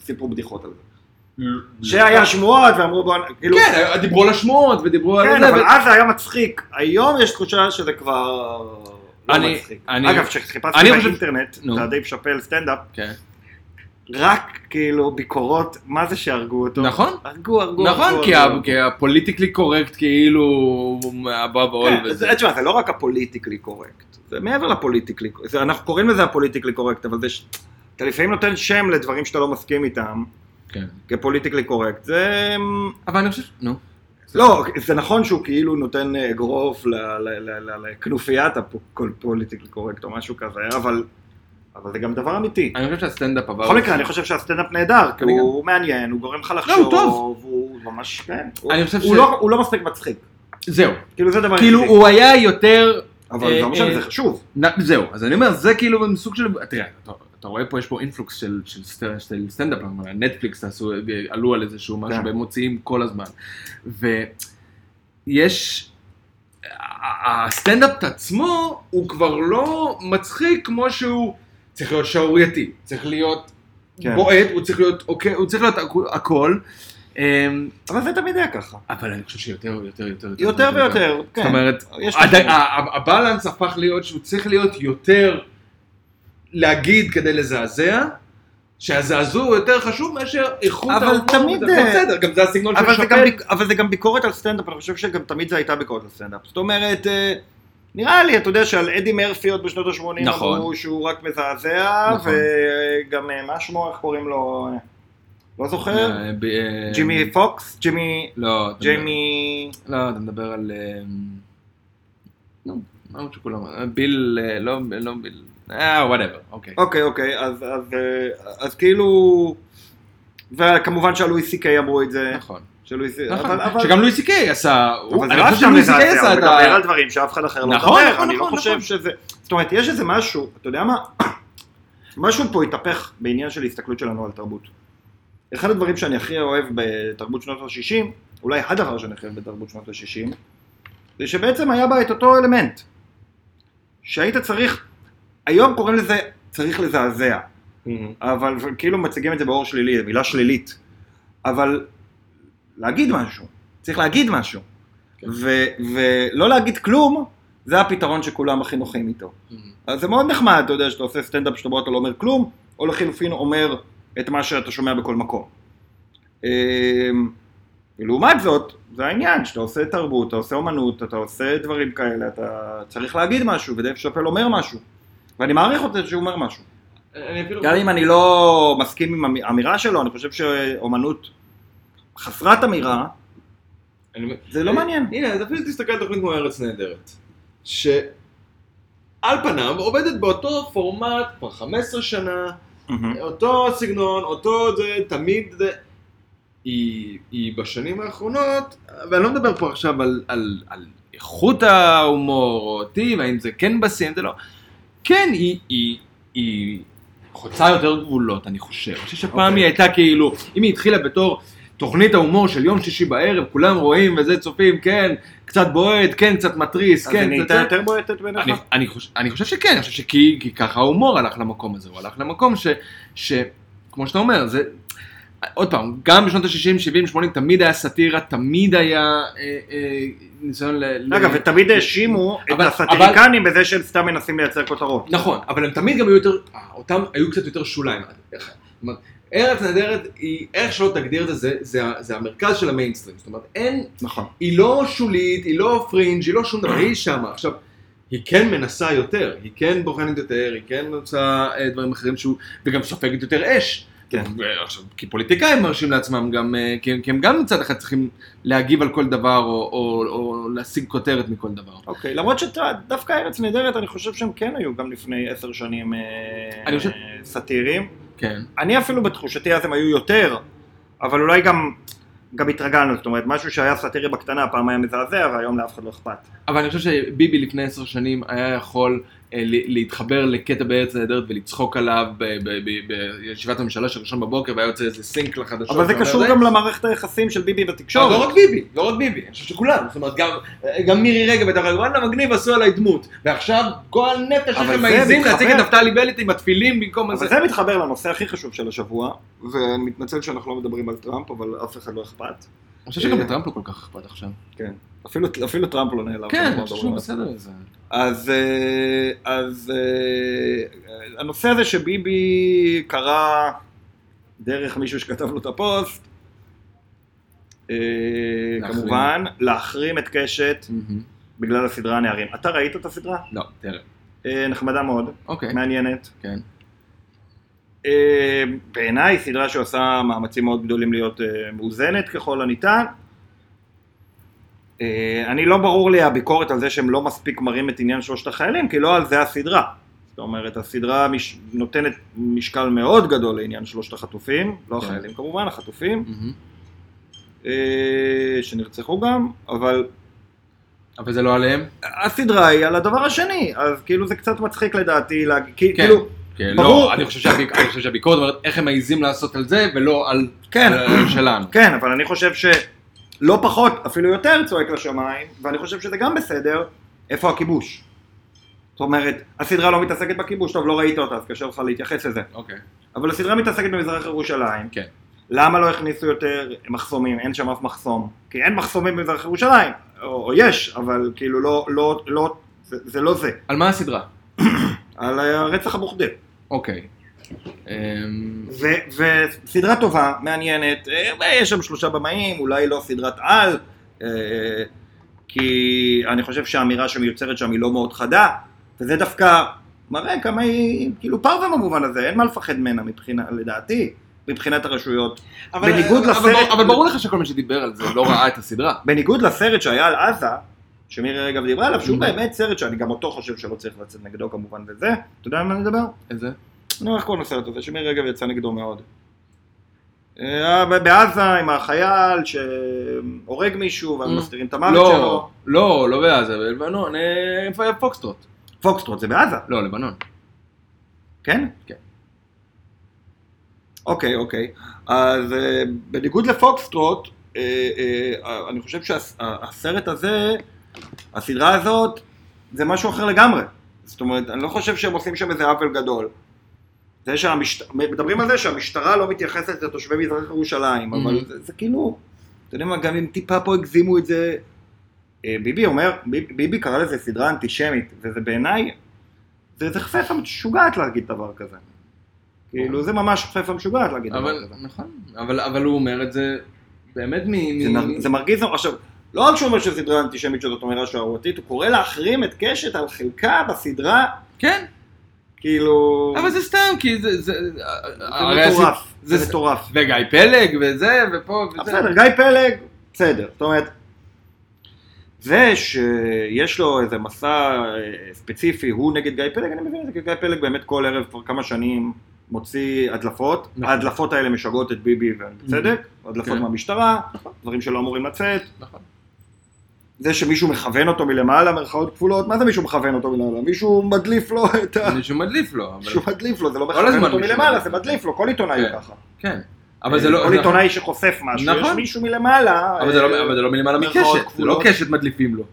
A: שסיפרו בדיחות על זה. שהיה שמועות ואמרו בוא, נ- כאילו,
B: כן, דיברו על השמועות ודיברו על
A: כן,
B: זה,
A: אבל
B: ו-
A: אז זה היה מצחיק. היום יש תחושה שזה כבר לא
B: אני-
A: מצחיק.
B: אני-
A: אגב, כשחיפשתי
B: אני חושב-
A: באינטרנט,
B: נו.
A: את הדייב שאפל סטנדאפ,
B: כן.
A: רק כאילו ביקורות, מה זה שהרגו אותו.
B: נכון.
A: הרגו, הרגו,
B: נכון,
A: הרגו,
B: כי
A: הרגו.
B: ה- כי הפוליטיקלי קורקט כאילו הוא הבא בעול
A: כן,
B: וזה.
A: זה- תשמע, זה לא רק הפוליטיקלי קורקט, זה מעבר לפוליטיקלי קורקט, אנחנו קוראים לזה הפוליטיקלי קורקט, אבל זה, ש- אתה לפעמים נותן שם לדברים שאתה לא מסכים איתם,
B: כן.
A: כפוליטיקלי קורקט, זה,
B: אבל אני חושב, ש- נו.
A: לא, זה נכון שהוא כאילו נותן אה, אגרוף ל- ל- ל- ל- לכנופיית הפוליטיקלי קורקט או משהו כזה, אבל, אבל זה גם דבר אמיתי.
B: אני חושב שהסטנדאפ עבר...
A: בכל מקרה, אני חושב שהסטנדאפ נהדר, כי
B: אני לא,
A: הוא מעניין, הוא גורם לך לחשוב,
B: הוא טוב.
A: הוא ממש, כן,
B: אני חושב
A: הוא
B: ש-
A: לא- הוא לא מספיק מצחיק,
B: זהו.
A: כאילו זה דבר
B: כאילו
A: אמיתי,
B: הוא היה יותר...
A: אבל
B: אה,
A: זה לא משנה,
B: אה,
A: זה חשוב.
B: נ- זהו, אז אני אומר, זה כאילו מין סוג של... תראה, אתה- אתה רואה פה, יש פה אינפלוקס של- של סט- של סטנדאפ, כלומר, נטפליקס עשו- עלו על איזשהו משהו,
A: כן.
B: והם מוציאים כל הזמן. ויש... ה- ה- הסטנדאפ עצמו הוא כבר לא מצחיק כמו שהוא צריך להיות שערורייתי, צריך להיות
A: כן.
B: בועט, הוא צריך להיות אוקיי, הוא צריך להיות הכ- הכל. אמ,
A: אבל זה תמיד היה ככה.
B: אבל אני חושב שיותר ויותר יותר
A: יותר ויותר, כן.
B: זאת אומרת,
A: יש
B: הד...
A: משהו.
B: ה- ה- הבלנס הפך להיות שהוא צריך להיות יותר להגיד כדי לזעזע, שהזעזוע הוא יותר חשוב מאשר איכות
A: אבל
B: ההומור,
A: תמיד,
B: וזה
A: אה,
B: בסדר, גם זה הסגנון של
A: אבל זה,
B: שאפל.
A: גם, ביק- אבל זה גם ביקורת על סטנדאפ, אני חושב שגם תמיד זה הייתה ביקורת על סטנדאפ. זאת אומרת, אה, נראה לי, אתה יודע שעל אדי מרפי עוד בשנות ה-80
B: נכון.
A: אמרו שהוא רק מזעזע,
B: נכון.
A: וגם אה, מה שמו, איך קוראים לו, אה, לא זוכר,
B: אה, ב- אה,
A: ג'ימי פוקס, ג'ימי,
B: לא, אתה
A: ג'יימי,
B: מדבר- לא, אתה מדבר על... אה, נו, מה עוד שכולם... אה, ביל... אה, לא לא ביל... אה, וואטאבר, אוקיי.
A: אוקיי, אוקיי, אז- אז, אה, אז כאילו, וכמובן שלואי סי קיי אמרו את זה,
B: נכון.
A: שלואי סי,
B: נכון.
A: אוקיי. אבל- אבל-
B: שגם לואי סי קיי עשה... הוא-
A: אבל זה
B: אני
A: לא
B: חושב
A: סתם
B: שלואי סי קיי
A: מזעזע,
B: עשה
A: הוא
B: את
A: מדבר
B: ה...
A: על דברים שאף אחד אחר לא
B: נכון,
A: מדבר,
B: נכון,
A: אני לא
B: נכון,
A: חושב
B: נכון.
A: שזה... זאת אומרת, יש איזה משהו, אתה יודע מה? <clears throat> משהו פה התהפך בעניין של הסתכלות שלנו על תרבות. אחד הדברים שאני הכי אוהב בתרבות שנות ה-60, אולי הדבר שאני הכי אוהב בתרבות שנות ה-60, זה שבעצם היה בה את אותו אלמנט. שהיית צריך, היום קוראים לזה צריך לזעזע. אבל כאילו מציגים את זה באור שלילי, זו מילה שלילית. אבל להגיד משהו, צריך להגיד משהו.
B: כן.
A: ו- ולא להגיד כלום, זה הפתרון שכולם הכי נוחים איתו. אז זה מאוד נחמד, אתה יודע, שאתה עושה סטנדאפ שאתה בא, אתה לא אומר כלום, או לחילופין אומר את מה שאתה שומע בכל מקום. אמ, ולעומת זאת, זה העניין, שאתה עושה תרבות, אתה עושה אומנות, אתה עושה דברים כאלה, אתה צריך להגיד משהו, ודייב שאפל אומר משהו. ואני מעריך אותו שהוא אומר משהו.
B: אני אפילו-
A: גם אם אני לא מסכים עם האמירה שלו, אני חושב שאומנות חסרת אמירה,
B: אני אה, אומר-
A: זה לא מעניין.
B: הנה, אז אפילו תסתכל על תוכנית כמו ארץ נהדרת, שעל פניו עובדת באותו פורמט כבר 15 שנה, אותו סגנון, אותו זה, תמיד זה. היא, היא בשנים האחרונות, ואני לא מדבר פה עכשיו על, על, על איכות ההומור או אותי, והאם זה כן בסין, זה לא. כן, היא, היא, היא חוצה יותר גבולות, אני חושב. אני חושב שפעם
A: אוקיי.
B: היא הייתה כאילו, אם היא התחילה בתור תוכנית ההומור של יום שישי בערב, כולם רואים וזה, צופים, כן, קצת בועט, כן, קצת מתריס,
A: אז
B: כן,
A: היא
B: קצת...
A: נהייתה
B: זה.
A: יותר בועטת בעיניך?
B: אני, אני, חוש, אני חושב שכן, אני חושב שכי כי ככה ההומור הלך למקום הזה, הוא הלך למקום ש... ש כמו שאתה אומר, זה... עוד פעם, גם בשנות ה-60, 70, 80, תמיד היה סאטירה, תמיד היה אה, אה, ניסיון ל...
A: אגב,
B: ל-
A: ותמיד האשימו את
B: אבל-
A: הסטיריקנים בזה שהם סתם מנסים לייצר כותרות.
B: נכון, אבל הם תמיד גם היו יותר... אה, אותם היו קצת יותר שוליים. איך- כלומר, ארץ נהדרת היא, איך שלא תגדיר את זה, זה, זה, ה- זה המרכז של המיינסטרים. זאת אומרת, אין
A: נכון.
B: היא לא שולית, היא לא פרינג', היא לא שום דבר, היא שמה. עכשיו, היא כן מנסה יותר, היא כן בוחנת יותר, היא כן רוצה אה, דברים אחרים שהוא, וגם סופגת יותר אש.
A: כן.
B: עכשיו, כי פוליטיקאים מרשים לעצמם גם, אה, כי הם, כי הם גם מצד אחד צריכים להגיב על כל דבר, או, או, או להשיג כותרת מכל דבר.
A: אוקיי, למרות שדווקא ארץ נהדרת, אני חושב שהם כן היו גם לפני עשר שנים אה,
B: אני חושב-
A: אה, סאטירים.
B: כן.
A: אני אפילו בתחושתי אז הם היו יותר, אבל אולי גם... גם התרגלנו, זאת אומרת, משהו שהיה סאטירי בקטנה, פעם היה מזעזע, והיום לאף אחד לא אכפת.
B: אבל אני חושב שביבי לפני עשר שנים היה יכול אה, ל- להתחבר לקטע בארץ נהדרת ולצחוק עליו ב- ב- ב- בישיבת הממשלה של ראשון בבוקר והיה יוצא איזה סינק לחדשות.
A: אבל זה
B: ואומר,
A: קשור
B: "די,
A: גם למערכת היחסים של ביבי בתקשורת.
B: לא לא רק ביבי, לא רק ביבי, אני חושב שכולם, זאת אומרת גם, גם מירי רגב הייתה אומרת, וואלה מגניב עשו עליי דמות, ועכשיו כל נטע
A: אבל
B: שלכם
A: זה
B: מעיזים להציג את
A: מתחבר.
B: נפתלי בנט עם התפילין במקום הזה.
A: אבל זה מתחבר לנושא הכי חשוב של השבוע, ואני מתנצל שאנחנו לא מדברים על טראמפ, אבל אף אחד לא אכפת.
B: אני חושב שגם לטראמפ לא כל כך אכפת עכשיו.
A: אפילו, אפילו טראמפ לא נעלב.
B: כן,
A: אנחנו
B: אני
A: לא
B: חושב
A: מדברים
B: שהוא
A: על
B: בסדר עם זה.
A: אז, אה, אז אה, הנושא הזה שביבי קרא דרך מישהו שכתב לו את הפוסט, אה,
B: להחרים.
A: כמובן, להחרים את קשת
B: מהמם.
A: בגלל הסדרה הנערים. אתה ראית את הסדרה?
B: לא, תראה.
A: אה, נחמדה מאוד,
B: אוקיי.
A: מעניינת.
B: כן.
A: אה, בעיניי סדרה שעושה מאמצים מאוד גדולים להיות אה, מאוזנת ככל הניתן. אה, אני לא ברור לי הביקורת על זה שהם לא מספיק מראים את עניין שלושת החיילים, כי לא על זה הסדרה. זאת אומרת, הסדרה מש... נותנת משקל מאוד גדול לעניין שלושת החטופים, לא
B: כן.
A: החיילים כמובן, החטופים,
B: מהמם.
A: אה, שנרצחו גם, אבל
B: אבל זה לא עליהם?
A: הסדרה היא על הדבר השני, אז כאילו זה קצת מצחיק לדעתי, להג... כי,
B: כן.
A: כאילו,
B: כן,
A: ברור.
B: לא, אני חושב שהביק- אני חושב שהביקורת אומרת איך הם מעיזים לעשות על זה ולא על אה,
A: כן,
B: על שלנו.
A: כן, אבל אני חושב שלא פחות, אפילו יותר צועק לשמיים, ואני חושב שזה גם בסדר, איפה הכיבוש? זאת אומרת, הסדרה לא מתעסקת בכיבוש, טוב, לא ראית אותה, אז קשה לך להתייחס לזה.
B: אוקיי.
A: אבל הסדרה מתעסקת במזרח ירושלים.
B: כן.
A: למה לא הכניסו יותר מחסומים? אין שם אף מחסום. כי אין מחסומים במזרח ירושלים, או, או יש, אבל כאילו לא, לא, לא, זה, זה לא זה.
B: על מה הסדרה?
A: על הרצח המוחדל.
B: אוקיי. אמ,
A: ו- וסדרה טובה, מעניינת, אה, יש שם שלושה במאים, אולי לא סדרת על, אה, כי אני חושב שהאמירה שמיוצרת שם היא לא מאוד חדה, וזה דווקא מראה כמה היא כאילו פרווה במובן הזה, אין מה לפחד ממנה מבחינה, לדעתי, מבחינת הרשויות.
B: אבל- אה,
A: בניגוד
B: אבל-
A: לסרט-
B: אבל- אבל ברור לך שכל מי שדיבר על זה לא ראה את הסדרה.
A: בניגוד לסרט שהיה על עזה, שמירי רגב דיברה עליו, שהוא
B: Mhm.
A: באמת סרט שאני גם אותו חושב שלא צריך לצאת נגדו כמובן וזה, אתה יודע על מה אני מדבר?
B: איזה?
A: נו, איך קוראים לסרט הזה? שמירי רגב יצא נגדו מאוד. אה, ב- בעזה עם החייל שהורג מישהו ואז
B: Mm.
A: מסתירים את המוות
B: לא,
A: שלו.
B: לא, לא בעזה, בלבנון, אה, פ- פוקסטרוט.
A: פוקסטרוט זה בעזה,
B: לא, לבנון.
A: כן?
B: כן.
A: אוקיי, אוקיי. אז אה, בניגוד לפוקסטרוט, אה, אה, אני חושב שהסרט הזה, הסדרה הזאת, זה משהו אחר לגמרי. זאת אומרת, אני לא חושב שהם עושים שם איזה עוול גדול. זה שהמשט... מדברים על זה שהמשטרה לא מתייחסת לתושבי מזרח ירושלים, אבל
B: Mhm.
A: זה, זה כאילו, אתה יודע מה, גם אם טיפה פה הגזימו את זה, אה, ביבי אומר, ביב- ביבי קרא לזה סדרה אנטישמית, וזה בעיניי, זה, זה חפפה משוגעת להגיד דבר כזה. כאילו, זה ממש חפפה משוגעת להגיד דבר
B: אבל,
A: כזה.
B: נכון, אבל- אבל הוא אומר את זה באמת מ...
A: זה,
B: מ-
A: נ- זה מרגיז, עכשיו, לא רק שהוא אומר שסדרה אנטישמית שזאת אמירה שערורתית, הוא קורא להחרים את קשת על חלקה בסדרה,
B: כן,
A: כאילו,
B: אבל זה סתם, כי זה... זה
A: זה
B: הרי הסיפ-
A: מטורף,
B: זה-
A: זה מטורף.
B: וגיא פלג, וזה, ופה, וזה.
A: בסדר, גיא פלג, בסדר. זאת אומרת, זה שיש לו איזה מסע אה, ספציפי, הוא נגד גיא פלג, אני מבין את זה, כי גיא פלג באמת כל ערב כבר כמה שנים מוציא הדלפות.
B: נכון.
A: ההדלפות האלה משגעות את ביבי, ובצדק, הדלפות
B: כן.
A: מהמשטרה, דברים שלא אמורים לצאת.
B: נכון.
A: זה שמישהו מכוון אותו מלמעלה, מירכאות כפולות, מה זה מישהו מכוון אותו מלמעלה? מישהו מדליף לו את ה...
B: מישהו מדליף לו, אבל...
A: מישהו מדליף לו, זה לא
B: הזמן
A: מכוון אותו
B: מישהו
A: מלמעלה,
B: מדליף.
A: זה מדליף לו, כל עיתונאי הוא
B: כן.
A: ככה.
B: כן. אבל זה לא...
A: אה, כל
B: זה-
A: עיתונאי שחושף משהו, יש
B: נכון.
A: מישהו מלמעלה.
B: אבל זה
A: אה,
B: לא- אבל זה לא מלמעלה
A: מירכאות
B: מקשת, זה לא
A: כפולות.
B: קשת מדליפים לו.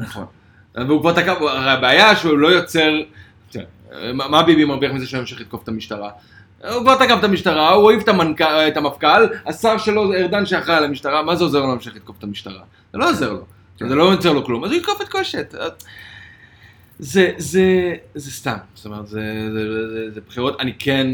A: נכון.
B: והוא כבר תקע, הוא- הרי הבעיה שהוא לא יוצר, מה מה ביבי מרוויח מזה שהוא ימשיך לתקוף את המשטרה? הוא כבר תקף את המשטרה, הוא אוהב את, המנכ... את המפכ"ל, השר שלו, ארדן שאחראי על המשטרה, מה זה עוזר לו להמשיך לתקוף את המשטרה? זה לא עוזר לו, זה לא יוצר לו כלום, אז הוא יתקוף את קשת. זה, זה, זה סתם, זאת אומרת, זה, זה, זה, זה, זה בחירות, אני כן,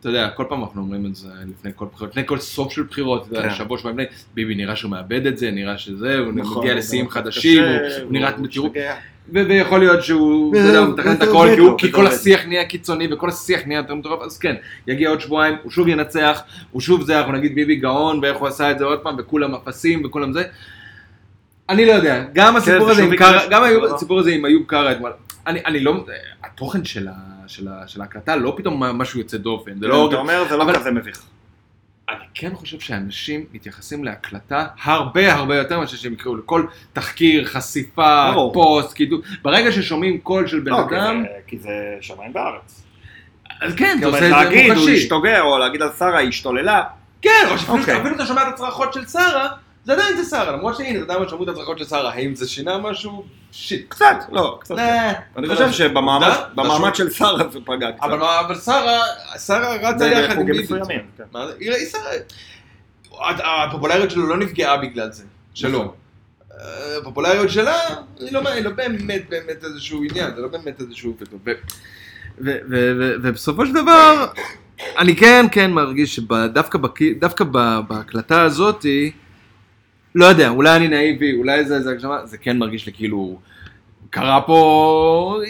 B: אתה יודע, כל פעם אנחנו אומרים את זה לפני כל בחירות, לפני כל סוף של בחירות, אתה יודע,
A: כן.
B: שבוע שבוע לפני, ביבי נראה שהוא מאבד את זה, נראה שזה, הוא
A: נכון,
B: מגיע
A: הוא
B: לשיאים
A: גם
B: חדשים,
A: קשה,
B: הוא- הוא נראה,
A: הוא
B: תראו,
A: משתגע.
B: ו- ויכול להיות שהוא,
A: וזה-
B: אתה
A: לא-
B: יודע, הוא מתכנן את
A: וזה
B: הכל,
A: עובד
B: כי
A: לו,
B: הוא- כי
A: וזה
B: כל
A: עובד.
B: השיח נהיה קיצוני, וכל השיח נהיה יותר מטורף, אז כן, יגיע עוד שבועיים, הוא שוב ינצח, הוא שוב זה, אנחנו נגיד ביבי גאון, ואיך הוא עשה את זה עוד פעם, וכולם אפסים, וכולם זה. אני לא יודע, גם הסיפור
A: כן, זה
B: הזה
A: שוב
B: עם
A: יקרה.
B: קארה, גם היו-
A: לא.
B: הסיפור הזה עם איוב קארה אתמול, אני אני לא, התוכן
A: כן,
B: של ה- של ה- של ההקלטה לא פתאום משהו יוצא דופן, זה לא,
A: אתה אומר, זה לא
B: אבל-
A: כזה מביך.
B: אני כן חושב שאנשים מתייחסים להקלטה הרבה הרבה יותר מאשר שהם יקראו לכל תחקיר, חשיפה,
A: ברור.
B: פוסט, קידום. ברגע ששומעים קול של בן
A: לא, כי
B: אדם,
A: זה- כי זה שמיים בארץ.
B: אז כן, זה
A: זאת אומרת,
B: עושה את זה
A: להגיד, הוא
B: מוחשי.
A: השתוגע, או להגיד על שרה, היא השתוללה,
B: כן, או שאפילו
A: אוקיי.
B: אפילו אתה שומע את הצרחות של שרה, זה עדיין זה שרה, למרות שהנה, אתה יודע מה שמעו את הצרחות של שרה, האם זה שינה משהו? שיט.
A: קצת, לא, קצת.
B: אה,
A: אני
B: אתה
A: חושב
B: יודע.
A: שבמעמד
B: עובדה?
A: במעמד
B: משהו-
A: של שרה זה פגע קצת.
B: אבל מה- אבל שרה, שרה רצה
A: זה
B: יחד עם
A: בחוגים
B: ביטלס.
A: מסוימים, כן.
B: מה זה? היא היא שרה... הד- הפופולריות שלו לא נפגעה בגלל זה, שלא. אה, הפופולריות שלה, היא לא, היא לא באמת באמת איזשהו עניין, זה לא באמת איזשהו... ו- ו- ו- ו- ובסופו של דבר, אני כן כן מרגיש שדווקא דווקא ב- בהקלטה הזאתי, לא יודע, אולי אני נאיבי, אולי זה זה הגשמה, זה כן מרגיש לי כאילו, קרה פה,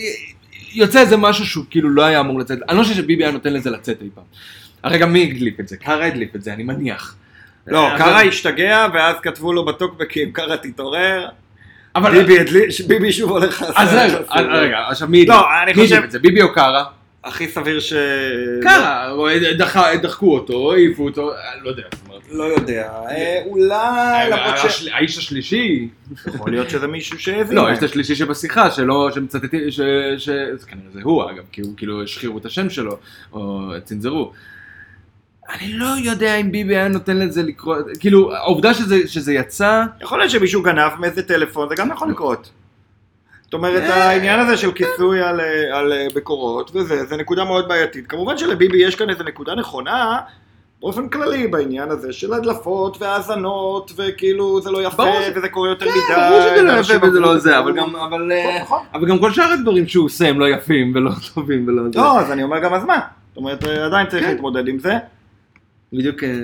B: יוצא איזה משהו שהוא כאילו לא היה אמור לצאת, אני לא חושב שביבי היה נותן לזה לצאת אי פעם. הרי גם מי הדליף את זה? קארה הדליף את זה, אני מניח.
A: לא,
B: אבל-
A: קארה השתגע, ואז כתבו לו בטוקבקים, קארה תתעורר,
B: אבל...
A: ביבי הדליף- ביבי שוב הולך לעשות...
B: אז רגע, אז רגע, עכשיו מי
A: אה, לא,
B: הדליף? מי
A: אני חושב,
B: הדליף את זה? ביבי או קארה?
A: הכי סביר ש...
B: קארה, או אה, דחה- דחקו אותו, העיפו אותו, אה, לא יודע, זאת אומרת. אה,
A: לא יודע, אה, אולי, למרות ש...
B: השל- האיש השלישי,
A: יכול להיות שזה מישהו שהבין.
B: לא, האיש השלישי שבשיחה, שלא, שמצטטים, ש... ש- זה כנראה זה הוא אגב, כי הוא כאילו השחירו את השם שלו, או צנזרו. אני לא יודע אם ביבי היה נותן לזה לקרות, כאילו, העובדה שזה- שזה יצא,
A: יכול להיות שמישהו גנב מאיזה טלפון, זה גם יכול לקרות. זאת אומרת,
B: אה,
A: העניין הזה של כיסוי על, אה, על אה, ביקורות וזה, זה נקודה מאוד בעייתית. כמובן שלביבי יש כאן איזו נקודה נכונה, באופן כללי בעניין הזה של הדלפות והאזנות, וכאילו זה לא יפה,
B: ברור ש-
A: וזה קורה יותר
B: כן,
A: מדי.
B: ברור שזה לא
A: ואנשים
B: יפה וזה
A: עברו-
B: לא זה, אבל גם, אבל... אה,
A: נכון.
B: אבל גם כל שאר הדברים שהוא עושה הם לא יפים ולא <laughs> טובים ולא זה.
A: לא, אז אני אומר גם אז מה. זאת אומרת, אה, עדיין צריך
B: כן.
A: להתמודד עם זה.
B: בדיוק, אה, אה,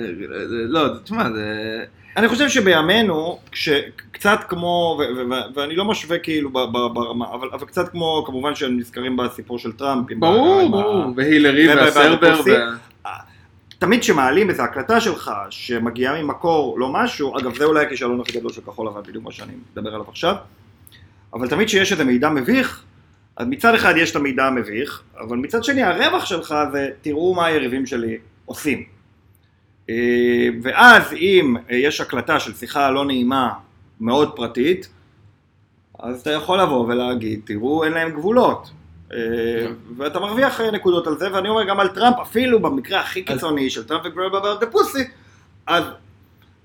B: לא, זה- תשמע, זה...
A: אני חושב שבימינו, כש- קצת כמו, ו- ו- ו- ואני לא משווה כאילו ב- ב- ברמה, אבל, אבל קצת כמו, כמובן שהם נזכרים בסיפור של טראמפ. עם ה-
B: ברור,
A: עם ה-
B: ברור. והילרי
A: זה
B: והסרבר
A: והפוסי.
B: וה...
A: תמיד כשמעלים איזו הקלטה שלך, שמגיעה ממקור לא משהו, אגב זה אולי הכישלון הכי גדול של כחול לבן, בדיוק מה שאני מדבר עליו עכשיו, אבל תמיד כשיש איזה מידע מביך, אז מצד אחד יש את המידע המביך, אבל מצד שני הרווח שלך זה תראו מה היריבים שלי עושים. אה, ואז אם אה, יש הקלטה של שיחה לא נעימה מאוד פרטית, אז אתה יכול לבוא ולהגיד, תראו, אין להם גבולות. אה, ואתה מרוויח אה, נקודות על זה, ואני אומר גם על טראמפ, אפילו במקרה הכי קיצוני של טראמפ וגרב אבר דה פוסי, אז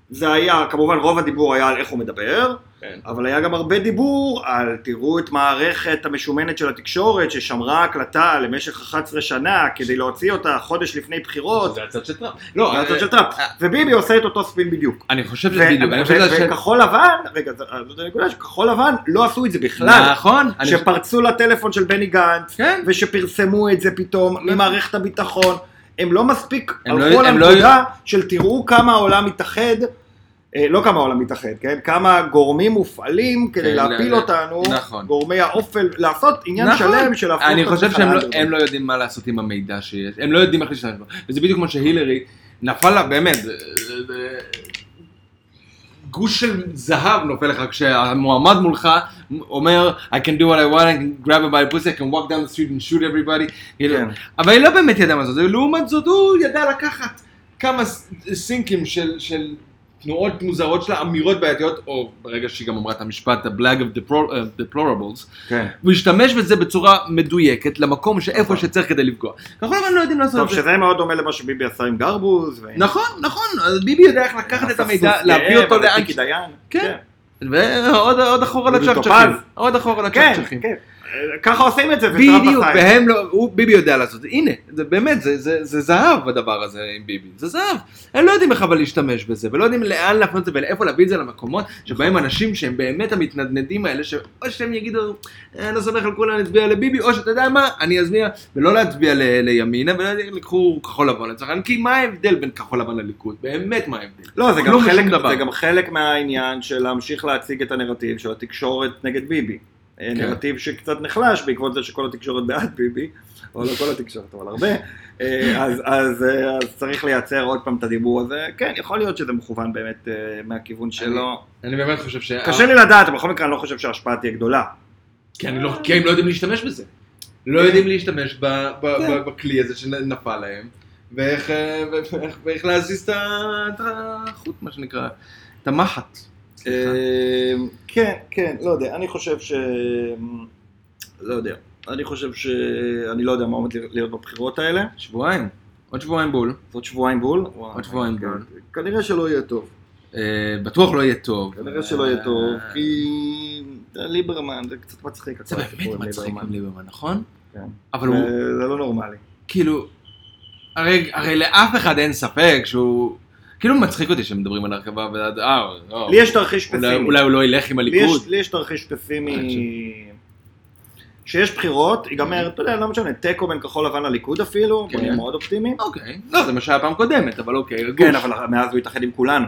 A: זה היה, כמובן רוב הדיבור היה על איך הוא מדבר,
B: כן.
A: אבל היה גם הרבה דיבור על תראו את מערכת המשומנת של התקשורת ששמרה הקלטה למשך 11 שנה כדי להוציא אותה חודש לפני בחירות,
B: זה הצד של טראמפ. לא,
A: זה
B: אה,
A: הצד של טראמפ.
B: אה,
A: וביבי עושה את אותו ספין בדיוק.
B: אני חושב שזה
A: ו-
B: בדיוק, אני חושב שזה...
A: ו-
B: השאלה-
A: וכחול לבן, רגע, ז- זאת הנקודה שכחול לבן לא עשו את זה בכלל,
B: נכון. אני חושב-
A: שפרצו לטלפון של בני גנץ,
B: כן.
A: ושפרסמו את זה פתאום ממערכת הביטחון, הם לא מספיק
B: לא. הם
A: הלכו
B: לא-
A: על
B: הם לא-
A: הנקודה של תראו כמה העולם מתאחד, אה, לא כמה העולם מתאחד, כן? כמה גורמים מופעלים כדי
B: כן,
A: להפיל
B: לא-
A: אותנו,
B: נכון.
A: גורמי האופל, לעשות עניין
B: נכון.
A: שלם של להפוך <laughs>
B: אני
A: את
B: חושב
A: עצמך
B: שהם לא-
A: לאנדרדוג.
B: הם לא יודעים מה לעשות עם המידע שיש, הם לא יודעים איך להשתמש בו, וזה בדיוק כמו שהילרי נפל לה, באמת, זה- זה- זה- גוש של זהב נופל לך כשהמועמד מולך אומר I can do what I want, I can grab a by the pussy, I can walk down the street and shoot everybody, כאילו,
A: כן.
B: אבל היא לא באמת ידעה מה זאת, לעומת זאת הוא ידע לקחת כמה ס- סינקים של, של תנועות מוזרות שלה, אמירות בעייתיות, או ברגע שהיא גם אמרה את המשפט, the black of deplor- uh, deplorables,
A: כן.
B: הוא השתמש בזה בצורה מדויקת למקום שאיפה שצריך כדי לפגוע. כחול לבן לא יודעים לעשות
A: נכון. טוב,
B: את זה.
A: שזה מאוד דומה למה שביבי עשה עם גרבוז. ועם-
B: נכון, נכון, אז ביבי יודע איך לקחת את המידע,
A: הסוס
B: להביא
A: גאה,
B: אותו
A: וזה
B: לאן...
A: טיקי דיין.
B: כן. ועוד עוד אחורה
A: דודו
B: לצ'חצ'חים.
A: טופז.
B: עוד אחורה
A: כן,
B: לצ'חצ'חים.
A: כן. אה, ככה עושים את זה. וטראמפ
B: בדיוק,
A: עשה את זה.
B: והם לא, הוא, ביבי יודע לעשות את זה, הנה, זה באמת, זה, זה, זה זהב הדבר הזה עם ביבי, זה זהב. הם לא יודעים איך אבל להשתמש בזה, ולא יודעים לאן להפנות את זה, ולאיפה להביא את זה למקומות שבהם אנשים שהם באמת המתנדנדים האלה, שאו שהם יגידו, "אה, אני לא סומך על כולם להצביע לביבי, או שאתה יודע מה, אני אצביע, ולא להצביע ל, לימינה, ולא לקחו כחול לבן לצרכן, כי מה ההבדל בין כחול לבן לליכוד? באמת מה ההבדל?
A: לא, זה גם,
B: כלום ושום
A: חלק,
B: דבר.
A: זה גם חלק מהעניין של להמשיך להציג את הנרטיב של התקשורת נגד ביבי. כן. נרטיב שקצת נחלש בעקבות זה שכל התקשורת בעד ביבי, או לא כל התקשורת, אבל הרבה. אה, אז, אז, אה, אז צריך לייצר עוד פעם את הדיבור הזה. כן, יכול להיות שזה מכוון באמת אה, מהכיוון שלו.
B: אני באמת חושב ש...
A: קשה לי לדעת, אבל בכל מקרה אני לא חושב שההשפעה תהיה גדולה.
B: כי אני לא-
A: כן.
B: כי הם לא יודעים להשתמש בזה. לא יודעים להשתמש ב- ב- ב- בכלי הזה שנפל להם, ואיך, אה, ו- ואיך, ואיך להזיז את ה- את החוט, מה שנקרא, את המחט. סליחה.
A: אה, כן, כן, לא יודע, אני חושב ש... לא יודע. אני חושב ש... אני לא יודע מה עומד להיות בבחירות האלה.
B: שבועיים, עוד שבועיים בול.
A: עוד שבועיים בול.
B: עוד שבועיים בול.
A: כנראה שלא יהיה טוב.
B: אה, בטוח לא יהיה טוב.
A: כנראה שלא יהיה טוב,
B: אה,
A: כי ליברמן זה קצת מצחיק.
B: זה באמת מצחיק עם ליברמן, נכון?
A: לא כן.
B: אבל הוא,
A: זה לא נורמלי.
B: כאילו, הרי, הרי לאף אחד אין ספק שהוא, כאילו מצחיק אותי שמדברים על הרכבה ועד, אה, לא,
A: כן. לי יש תרחיש
B: אולי,
A: פסימי.
B: אולי הוא לא ילך עם
A: לי יש-
B: הליכוד.
A: לי יש תרחיש פסימי. שיש בחירות, ייגמר, אתה יודע, לא משנה, תיקו בין כחול לבן לליכוד אפילו,
B: כן.
A: בוא נהיה מאוד אופטימי.
B: אוקיי, לא, זה מה שהיה פעם קודמת, אבל אוקיי, גוש.
A: כן, אבל מאז הוא התאחד עם כולנו.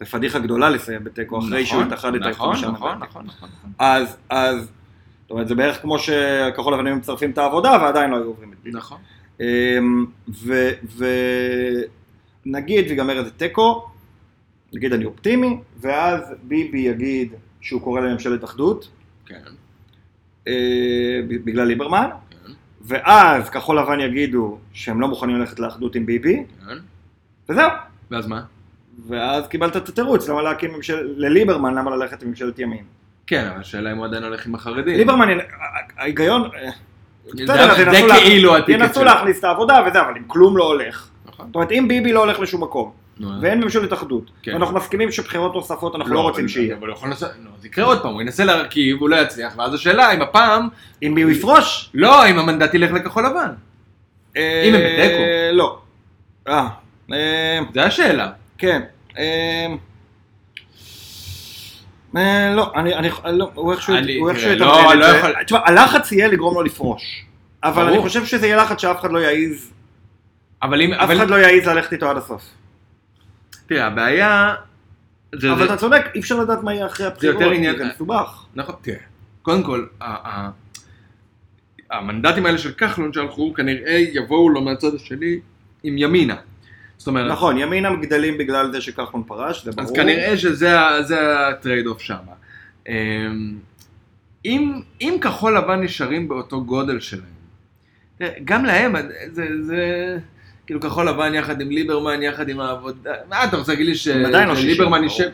A: זה פדיחה גדולה לסיים בתיקו אחרי שהוא
B: נכון,
A: התאחד את
B: נכון,
A: ה-25
B: נכון, נכון, נכון, נכון.
A: אז, אז, זאת אומרת, זה בערך כמו שכחול לבנים מצרפים את העבודה ועדיין לא היו עוברים את אמ, ביבי.
B: נכון.
A: ונגיד ויגמר איזה תיקו, נגיד אני אופטימי, ואז ביבי יגיד שהוא קורא לממשלת אחדות,
B: כן,
A: אה, ב- בגלל ליברמן,
B: כן,
A: ואז כחול לבן יגידו שהם לא מוכנים ללכת לאחדות עם ביבי,
B: כן.
A: וזהו.
B: ואז מה?
A: ואז קיבלת את התירוץ, למה להקים ממשלת, לליברמן למה ללכת לממשלת ימין.
B: כן, אבל השאלה אם הוא עדיין הולך עם החרדים.
A: ליברמן, אה, ההיגיון, אה,
B: זה-
A: בסדר, אז
B: זה
A: ינסו לה-
B: כאילו הטיקט
A: ינסו
B: שלו.
A: להכניס את העבודה וזה, אבל אם כלום לא הולך.
B: נכון.
A: זאת אומרת, אם ביבי לא הולך לשום מקום,
B: נו, אה. אז-
A: ואין ממשלת אחדות,
B: כן.
A: ואנחנו מסכימים שבחירות נוספות אנחנו לא
B: אבל-
A: רוצים שיהיה.
B: אבל הוא יכול לנסות, נו, אז יקרה עוד פעם, הוא ינסה להרכיב, הוא לא יצליח, ואז השאלה אם הפעם,
A: אם הוא יפרוש,
B: לא, אם המנדט ילך לכחול לבן. אם הם בתיקו.
A: אה, לא. אה, אה,
B: זה השאלה.
A: כן. אה, אה, לא, אני, אני, לא, הוא איכשהו,
B: אני-
A: הוא איכשהו
B: תראה,
A: יתמרן
B: לא,
A: את
B: לא
A: זה.
B: יכול-
A: תשמע, הלחץ יהיה לגרום לו לפרוש. אבל
B: ברור.
A: אני חושב שזה יהיה לחץ שאף אחד לא יעז,
B: אבל אם,
A: אף
B: אבל,
A: אחד לא יעז ללכת איתו עד הסוף.
B: תראה, הבעיה, זה,
A: אבל
B: זה,
A: אתה צודק, אי אפשר לדעת מה יהיה אחרי הבחירות,
B: יותר עניין-
A: כי זה מסובך.
B: נכון, תראה, קודם כל, ה- ה- המנדטים האלה של כחלון שהלכו, כנראה יבואו לו מהצד השני עם ימינה. זאת אומרת,
A: נכון, ימינה גדלים בגלל זה שכחלון פרש, זה ברור.
B: אה. אז כנראה שזה ה- זה הטרייד אוף שמה. אמ, אם, אם כחול לבן נשארים באותו גודל שלהם, תראה, גם להם זה, זה כאילו כחול לבן יחד עם ליברמן, יחד עם העבודה, מה אתה רוצה להגיד לי ש-
A: הם עדיין לא אה, שישים,
B: שליברמן
A: ברור.
B: יישב?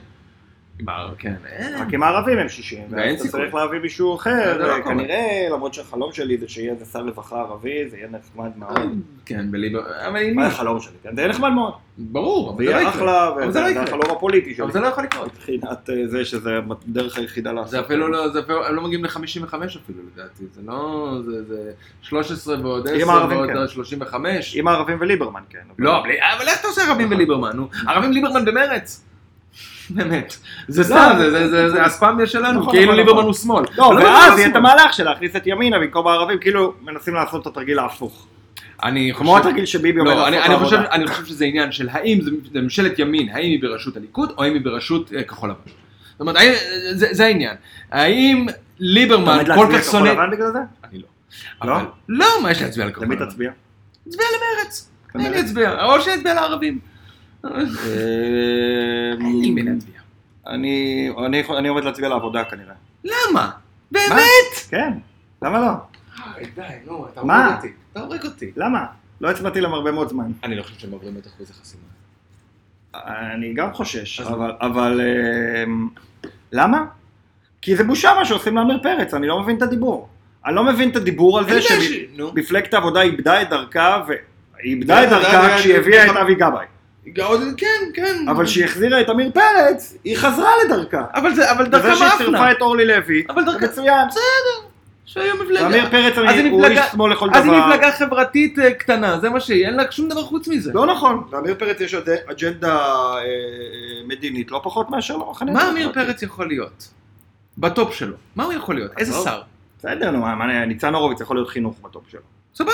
B: עם ה- כן, אין.
A: רק עם הערבים הם 60,
B: ואין
A: ואז אתה
B: סיכוי.
A: צריך להביא מישהו
B: זה לא
A: אחר, אה,
B: קורה.
A: כנראה, למרות שהחלום שלי זה שיהיה איזה שר רווחה ערבי, זה יהיה נחמד מאוד.
B: כן, בליברמן, אבל עם
A: מה
B: מי?
A: החלום שלי? כן, זה יהיה נחמד מאוד.
B: ברור,
A: זה
B: אבל זה לא
A: יהיה
B: יקרה.
A: אחלה,
B: אבל זה
A: וזה
B: לא
A: זה
B: יקרה.
A: החלום הפוליטי שלי.
B: אבל זה לא יכול לקרות.
A: מבחינת אה, זה שזה הדרך היחידה לעשות.
B: זה אפילו לא, זה אפילו, הם לא מגיעים ל-55 אפילו לדעתי, זה לא, זה, זה 13 ועוד
A: עם
B: 10
A: הערבים,
B: ועוד
A: כן.
B: 35.
A: עם הערבים וליברמן, כן. אבל-
B: לא, אבל אבל איך אתה עושה ערבים וליברמן, <laughs> נו? ערבים ליברמן במרץ. <laughs> באמת. זה
A: לא,
B: סתם, זה- זה- זה זה
A: נכון.
B: הספמיה שלנו,
A: נכון,
B: כאילו
A: נכון,
B: ליברמן
A: נכון.
B: הוא שמאל.
A: לא,
B: אבל
A: ואז
B: ליברמן
A: יהיה את
B: שמאל.
A: המהלך של להכניס את ימינה במקום הערבים, כאילו מנסים לעשות את התרגיל ההפוך.
B: אני
A: כמו
B: חושב...
A: התרגיל שביבי עומד
B: לא,
A: לעשות
B: אני-
A: את
B: אני חושב-
A: העבודה.
B: אני חושב שזה עניין של האם זה- זה ממשלת ימין, האם היא בראשות הליכוד, או האם היא בראשות אה, כחול לבן. זאת אומרת, האם- זה זה העניין. האם
A: אתה
B: ליברמן
A: עומד
B: כל
A: להצביע
B: כך
A: כחול
B: שונא...
A: לבן בגלל זה?
B: אני לא.
A: לא?
B: אבל- לא, מה יש להצביע לכחול
A: למי
B: לבן?
A: תצביע? כן,
B: תצביע למרץ.
A: למרצ.
B: אני אצביע, או שאצביע לערבים. אין לי מי להצביע.
A: אה, אני, אני, יכול- אני עומד להצביע לעבודה כנראה.
B: למה? באמת?
A: כן, למה לא?
B: היי, די, נו, אתה
A: מה?
B: הורג אותי. אתה הורג אותי.
A: למה? לא הצבעתי להם הרבה מאוד זמן.
B: אני לא חושב שהם עוברים את אחוז החסימה.
A: אני גם חושש,
B: אז-
A: אבל, אבל אמ, למה? כי זה בושה מה שעושים לעמיר פרץ, אני לא מבין את הדיבור. אני לא מבין את הדיבור על זה
B: נו.
A: שמפלגת העבודה איבדה את דרכה, ואיבדה את
B: זה- זה-
A: דרכה
B: זה-
A: כשהיא
B: זה-
A: הביאה
B: זה-
A: את אבי גבאי.
B: עוד- כן, כן.
A: אבל כשהיא החזירה את עמיר פרץ, היא חזרה לדרכה.
B: אבל זה, אבל
A: וזה
B: דרכם
A: שהיא צירפה
B: אפנה.
A: את אורלי לוי,
B: אבל
A: זה
B: דרכה...
A: מצוין.
B: שהיום
A: עמיר
B: מפלגה... אז
A: פרץ
B: היא
A: הוא איש
B: מפלגה-
A: שמאל לכל דבר.
B: אז היא מפלגה חברתית אה, קטנה, זה מה שהיא, אין לה שום דבר חוץ מזה.
A: לא נכון, לעמיר פרץ יש אג- אג'נדה אה, אה, מדינית לא פחות מאשר למחנה.
B: מה
A: הדמוקרטי.
B: עמיר פרץ יכול להיות? בטופ שלו. מה הוא יכול להיות? איזה
A: עזוב.
B: שר?
A: בסדר, נו, מה, מה, ניצן הורוביץ יכול להיות חינוך בטופ שלו.
B: סבבה.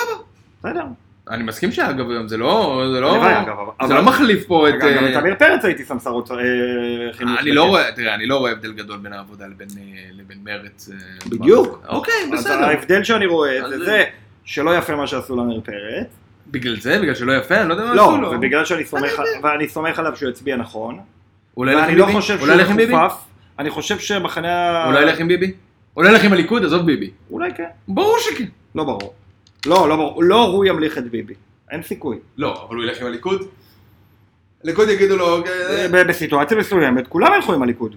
A: בסדר.
B: אני מסכים שאגב היום זה לא... זה לא...
A: הלוואי, אגב, אבל-
B: זה לא מחליף פה את...
A: אגב, גם
B: אה,
A: את עמיר פרץ הייתי שם שר אוצר אה, חינוך.
B: אני לא רואה, תראה, אני לא רואה הבדל גדול בין העבודה לבין, אה, לבין מרץ. אה,
A: בדיוק.
B: מה- אוקיי,
A: אז
B: בסדר.
A: ההבדל שאני רואה
B: אז
A: זה
B: זה-
A: זה שלא יפה מה שעשו לעמיר פרץ.
B: בגלל זה? בגלל שלא יפה? אני לא יודע מה
A: לא,
B: עשו לו.
A: ובגלל שאני סומך על- ואני סומך עליו שהוא יצביע נכון.
B: אולי ילך עם
A: ואני לא
B: ביבי?
A: חושב שהוא
B: אולי ילך עם ביבי?
A: מחופף. אני חושב שמחנה... ה-
B: אולי ילך עם ביבי? אולי ילך עם הליכוד? עזוב ביבי.
A: אולי כן,
B: ברור שכן.
A: לא ברור. לא, לא ברור. לא הוא ימליך את ביבי. אין סיכוי.
C: לא, אבל הוא ילך עם הליכוד? הליכוד יגידו לו,
B: "אוקיי."
C: אה,
A: ב- בסיטואציה מסוימת, כולם ילכו עם הליכוד.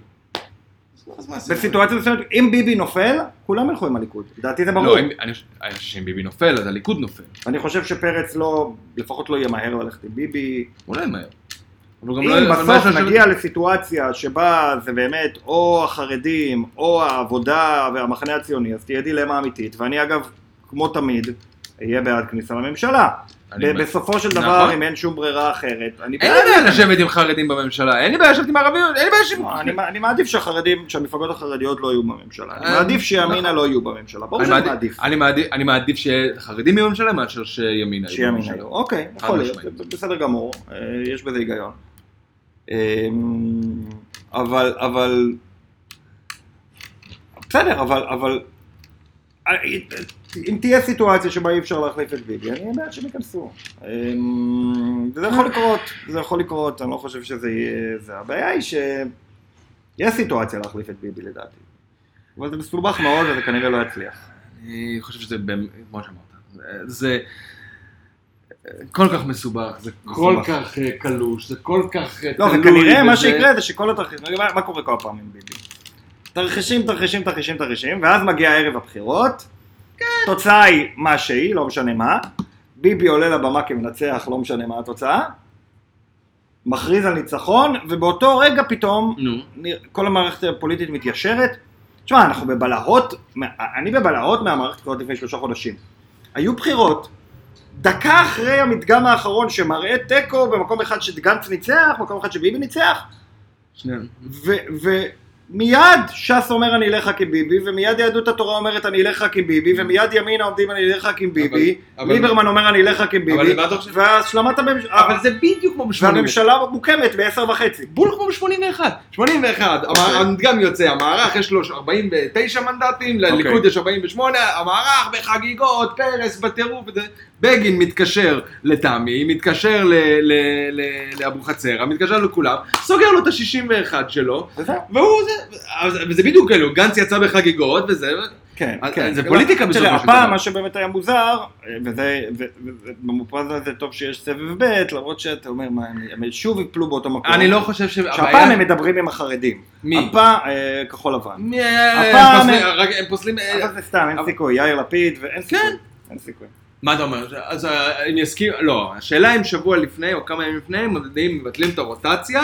C: אז מה עשינו?
A: בסיטואציה מסוימת, אם ביבי נופל, כולם ילכו עם הליכוד. לדעתי זה ברור.
B: לא, אם- אני חושב- אני חושב שאם ביבי נופל, אז הליכוד נופל.
A: אני חושב שפרץ לא, לפחות לא ימהר ללכת עם ביבי.
B: הוא לא ימהר. אבל הוא גם לא-
A: אם
B: אבל מה יש לו
A: בסוף
B: לשבת-
A: נגיע לסיטואציה שבה זה באמת או החרדים, או העבודה והמחנה הציוני, אז תהיה דילמה אמיתית. ואני אגב, כמו תמיד, אהיה בעד כניסה לממשלה.
B: אני-
A: ב- בסופו של דבר,
B: נכון.
A: אם אין שום ברירה אחרת, אני
B: אין לי
A: בעד.
B: בעיה לשבת עם חרדים בממשלה, אין לי בעיה לשבת עם ערבים, אין לי בעיה לשבת עם...
A: לא, אני מע- אני מעדיף שהחרדים, שהמפלגות החרדיות לא יהיו בממשלה. אני
B: אה,
A: מעדיף שימינה
B: נכון.
A: לא יהיו בממשלה. ברור
B: אני
A: שאני
B: מעדיף-
A: מעדיף.
B: אני מעדיף- אני מעדיף שחרדים יהיו בממשלה מאשר שימינה יהיו
A: שימין
B: בממשלה.
A: היו. אוקיי,
B: חד
A: יכול להיות,
B: משמעית.
A: זה בסדר גמור, אה, יש בזה היגיון. אה, אבל, אבל... בסדר, אבל, אבל... אה, אם תהיה סיטואציה שבה אי אפשר להחליף את ביבי, אני בעד שהם ייכנסו. אה, וזה יכול לקרות, זה יכול לקרות, אני לא חושב שזה יהיה... זה. הבעיה היא ש... יש סיטואציה להחליף את ביבי לדעתי. אבל זה מסובך מאוד וזה כנראה לא יצליח.
B: אני חושב שזה באמת, כמו שאמרת, זה כל כך מסובך, זה כל
A: מסובך.
B: כך אה, קלוש, זה כל כך אה,
A: לא,
B: תלוי
A: וכנראה מה
B: בזה.
A: שיקרה זה שכל התרחישים, מה, מה קורה כל פעם עם ביבי? תרחישים, תרחישים, תרחישים, תרחישים, ואז מגיע ערב הבחירות, תוצאה היא מה שהיא, לא משנה מה, ביבי עולה לבמה כמנצח, לא משנה מה התוצאה, מכריז על ניצחון, ובאותו רגע פתאום
B: נו,
A: נראה- כל המערכת הפוליטית מתיישרת. תשמע, אנחנו בבלהות, אני בבלהות מהמערכת הבחירות לפני שלושה חודשים. היו בחירות, דקה אחרי המדגם האחרון שמראה תיקו במקום אחד שגנץ ניצח, במקום אחד שביבי ניצח,
B: שנייה.
A: ו- ומיד ש"ס אומר אני אלך רק עם ביבי, ומיד יהדות התורה אומרת אני אלך רק עם ביבי, ומיד ימינה עומדים אני אלך רק עם ביבי,
B: אבל-
A: ליברמן אומר אני אלך רק עם
C: אבל
A: ביבי,
C: מה אתה חושב?
A: והשלמת הממשלה,
B: אבל זה בדיוק כמו ב-81.
A: והממשלה מוקמת בעשר וחצי.
B: בול כמו ב-81. 81, המ-
A: אוקיי.
B: המדגם יוצא, המערך יש לו 49 מנדטים,
A: אוקיי.
B: לליכוד יש 48, המערך בחגיגות, פרס בטירוף, וזה. בגין מתקשר לתמי, מתקשר ל- ל- ל- לאבוחצירא, מתקשר לכולם, סוגר לו את ה-61 שלו,
A: וזהו.
B: והוא זה, אז- וזה בדיוק כאילו, גנץ יצא בחגיגות וזה,
A: כן,
B: אז-
A: כן.
B: אז זה פוליטיקה בסופו
A: תראה,
B: של דבר.
A: הפעם מה שבאמת היה מוזר, אה, וזה, ו- ו- ו- במופרז הזה טוב שיש סבב ב', למרות שאתה אומר, מה, הם- הם שוב יפלו באותו מקום.
B: אני לא חושב
A: שהפעם
B: שהבעיה,
A: הם מדברים עם החרדים.
B: מי?
A: הפעם, אה, כחול לבן.
B: מי היה-
A: הפעם-
B: הם פוסלים- רק- הם פוסלים, אה,
A: אבל זה סתם, אין
B: אבל-
A: סיכוי, יאיר לפיד, ואין סיכוי.
B: כן.
A: אין סיכוי.
B: מה אתה אומר? אז אה, הם יסכימו, לא, השאלה אם שבוע לפני או כמה ימים לפני הם מודדים, מבטלים את הרוטציה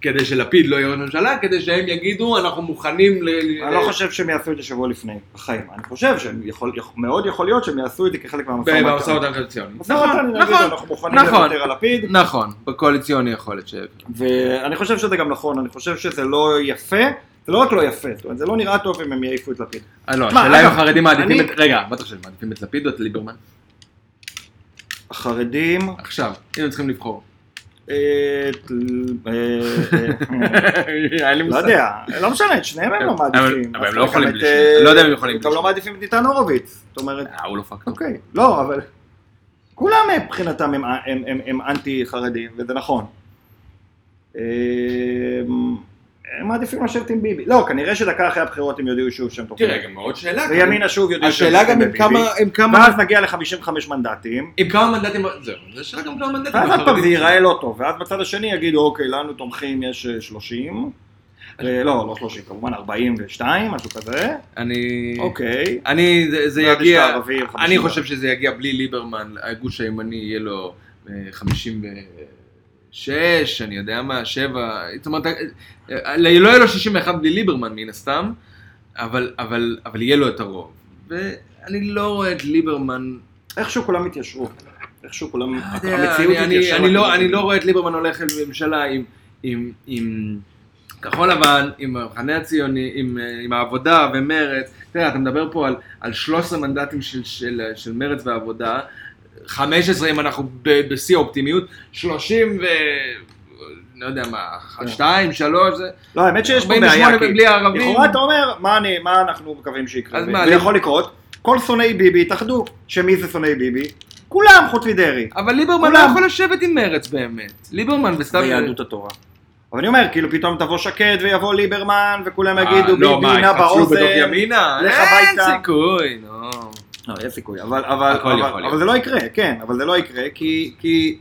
B: כדי שלפיד לא יהיה ראש ממשלה, כדי שהם יגידו אנחנו מוכנים ל...
A: אני לא חושב שהם יעשו את זה שבוע לפני, בחיים. אני חושב שמאוד יכול להיות שהם יעשו את זה כחלק מהמשא ומתן.
B: במשא ומתן קואליציוני.
A: משא ומתן,
B: נכון,
A: אני אגיד,
B: נכון,
A: אנחנו מוכנים
B: נכון.
A: לוותר על לפיד.
B: נכון, בקואליציוני יכול להיות ש... אה,
A: ואני חושב שזה גם נכון, אני חושב שזה לא יפה, זה לא רק לא יפה, זאת אומרת, זה לא נראה טוב אם הם יעיפו את לפיד.
B: אה, לא,
A: מה,
B: השאלה אם
A: אגב,
B: החרדים מעדיפים
A: אני-
B: את... רגע, מה אתה חושב, מעדיפים את לפיד או את ליברמן?
A: החרדים,
B: עכשיו, אם הם צריכים
A: <laughs>
B: לבחור.
A: אה, ל- אה, אה,
B: אין לי
A: לא
B: מושג.
A: יודע, לא משנה, את שניהם הם לא
B: אבל-
A: מעדיפים.
B: אבל הם
A: אז
B: לא יכולים
A: גם את,
B: בלי
A: אה,
B: שניהם. לא יודע אם הם יכולים
A: הם
B: בלי
A: גם לא
B: שניהם.
A: מעדיפים את ניתן הורוביץ, זאת אומרת,
B: אה, הוא לא פקטור.
A: אוקיי, לא, אבל כולם מבחינתם הם- הם- הם- הם אנטי חרדים, וזה נכון. אה, הם מעדיפים לשבת עם ביבי. לא, כנראה שדקה אחרי הבחירות הם יודיעו שוב שהם תומכים.
C: תראה, גם מאוד שאלה.
A: וימינה שוב יודיעו שהם
B: השאלה
A: תומכים
B: גם עם
A: בביבי.
B: כמה... עם כמה...
A: ואז נגיע ל-55 מנדטים,
B: עם כמה מנדטים... זהו, זו שאלה גם כמה מנדטים.
A: ואז עוד פעם זה
B: החרדים.
A: ייראה לא טוב, ואז בצד השני יגידו, אוקיי, לנו תומכים יש אה, 30, אה, לא, לא 30, כמובן 42, משהו כזה,
B: אני...
A: אוקיי.
B: אני, כן. זה, זה
A: ואז יש את
B: יגיע,
A: הערבים, 50.
B: אני חושב שזה יגיע בלי ליברמן, הגוש הימני יהיה לו אה, 56, אני יודע מה, 7, זאת אומרת, אה, אה, לא יהיה לו 61 בלי ליברמן מן הסתם, אבל, אבל, אבל יהיה לו את הרוב. ואני לא רואה את ליברמן,
A: איכשהו כולם התיישרו, איכשהו כולם,
B: אתה יודע,
A: המציאות
B: אה, אני- אני-
A: התיישרה.
B: אני לא- אני לא רואה את ליברמן הולך לממשלה עם- עם- עם כחול לבן, עם המחנה הציוני, עם, אה, עם העבודה ומרץ. תראה, אתה מדבר פה על- על 13 מנדטים של- של של מרץ והעבודה, 15 אם אנחנו ב- בשיא האופטימיות, 30 ו... לא יודע מה,
A: כן.
B: 2, 3, זה...
A: לא, האמת שיש פה
B: 48
A: בעיה, כי
B: בלי הערבים.
A: לכאורה אתה אומר, מה אני- מה אנחנו מקווים שיקרה,
B: אז
A: ו-
B: מה,
A: זה
B: לי-
A: יכול לקרות, כל שונאי ביבי יתאחדו, שמי זה שונאי ביבי? כולם חוץ מדרעי.
B: אבל ליברמן לא
A: כולם.
B: יכול לשבת עם מרץ באמת. ליברמן וסתם...
A: ויהדות התורה. אבל אני אומר, כאילו פתאום תבוא שקד ויבוא ליברמן וכולם
B: אה,
A: יגידו
B: לא,
A: ביבי
B: מה,
A: נע
B: יפצלו
A: באוזן.
B: בתוך ימינה?
A: לך
B: אין
A: הביתה.
B: סיכוי, נו.
A: לא, יש סיכוי, אבל, אבל,
B: הכל
A: אבל,
B: יכול
A: אבל
B: להיות.
A: זה לא יקרה, כן, אבל זה לא יקרה, כי, כי,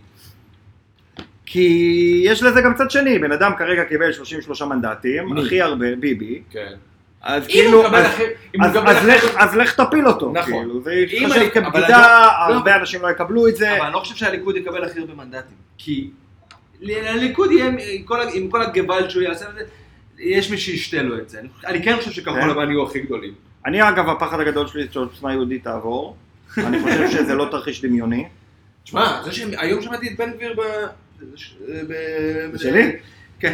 A: כי יש לזה גם צד שני, בן אדם כרגע קיבל 33 מנדטים,
B: מי?
A: הכי הרבה, ביבי,
C: כן.
A: אז
B: אם הוא
A: כאילו,
B: מקבל
A: אז-
B: אחר... אם הוא
A: אז,
B: מקבל
A: אז,
B: אחר...
A: לך, אז לך תפיל אותו,
B: נכון.
A: כאילו, זה
B: אם
A: יתחשב
B: אני- אבל אני
A: כבגידה,
B: לא-
A: הרבה אנשים לא יקבלו את זה,
D: אבל אני לא חושב שהליכוד יקבל הכי הרבה מנדטים. כי ל- לליכוד יהיה, עם כל ה- עם כל הגוואלד שהוא יעשה את זה, יש מי שישתה לו את זה. אני- אני כן חושב
A: כן.
D: שכחול לבן...
C: כחול לבן יהיו הכי גדולים.
A: אני אגב, הפחד הגדול שלי זה שעוצמה יהודית תעבור, אני חושב שזה לא תרחיש דמיוני,
B: תשמע, זה שהיום שמעתי את בן גביר ב... ב-
A: זה שלי,
D: אה,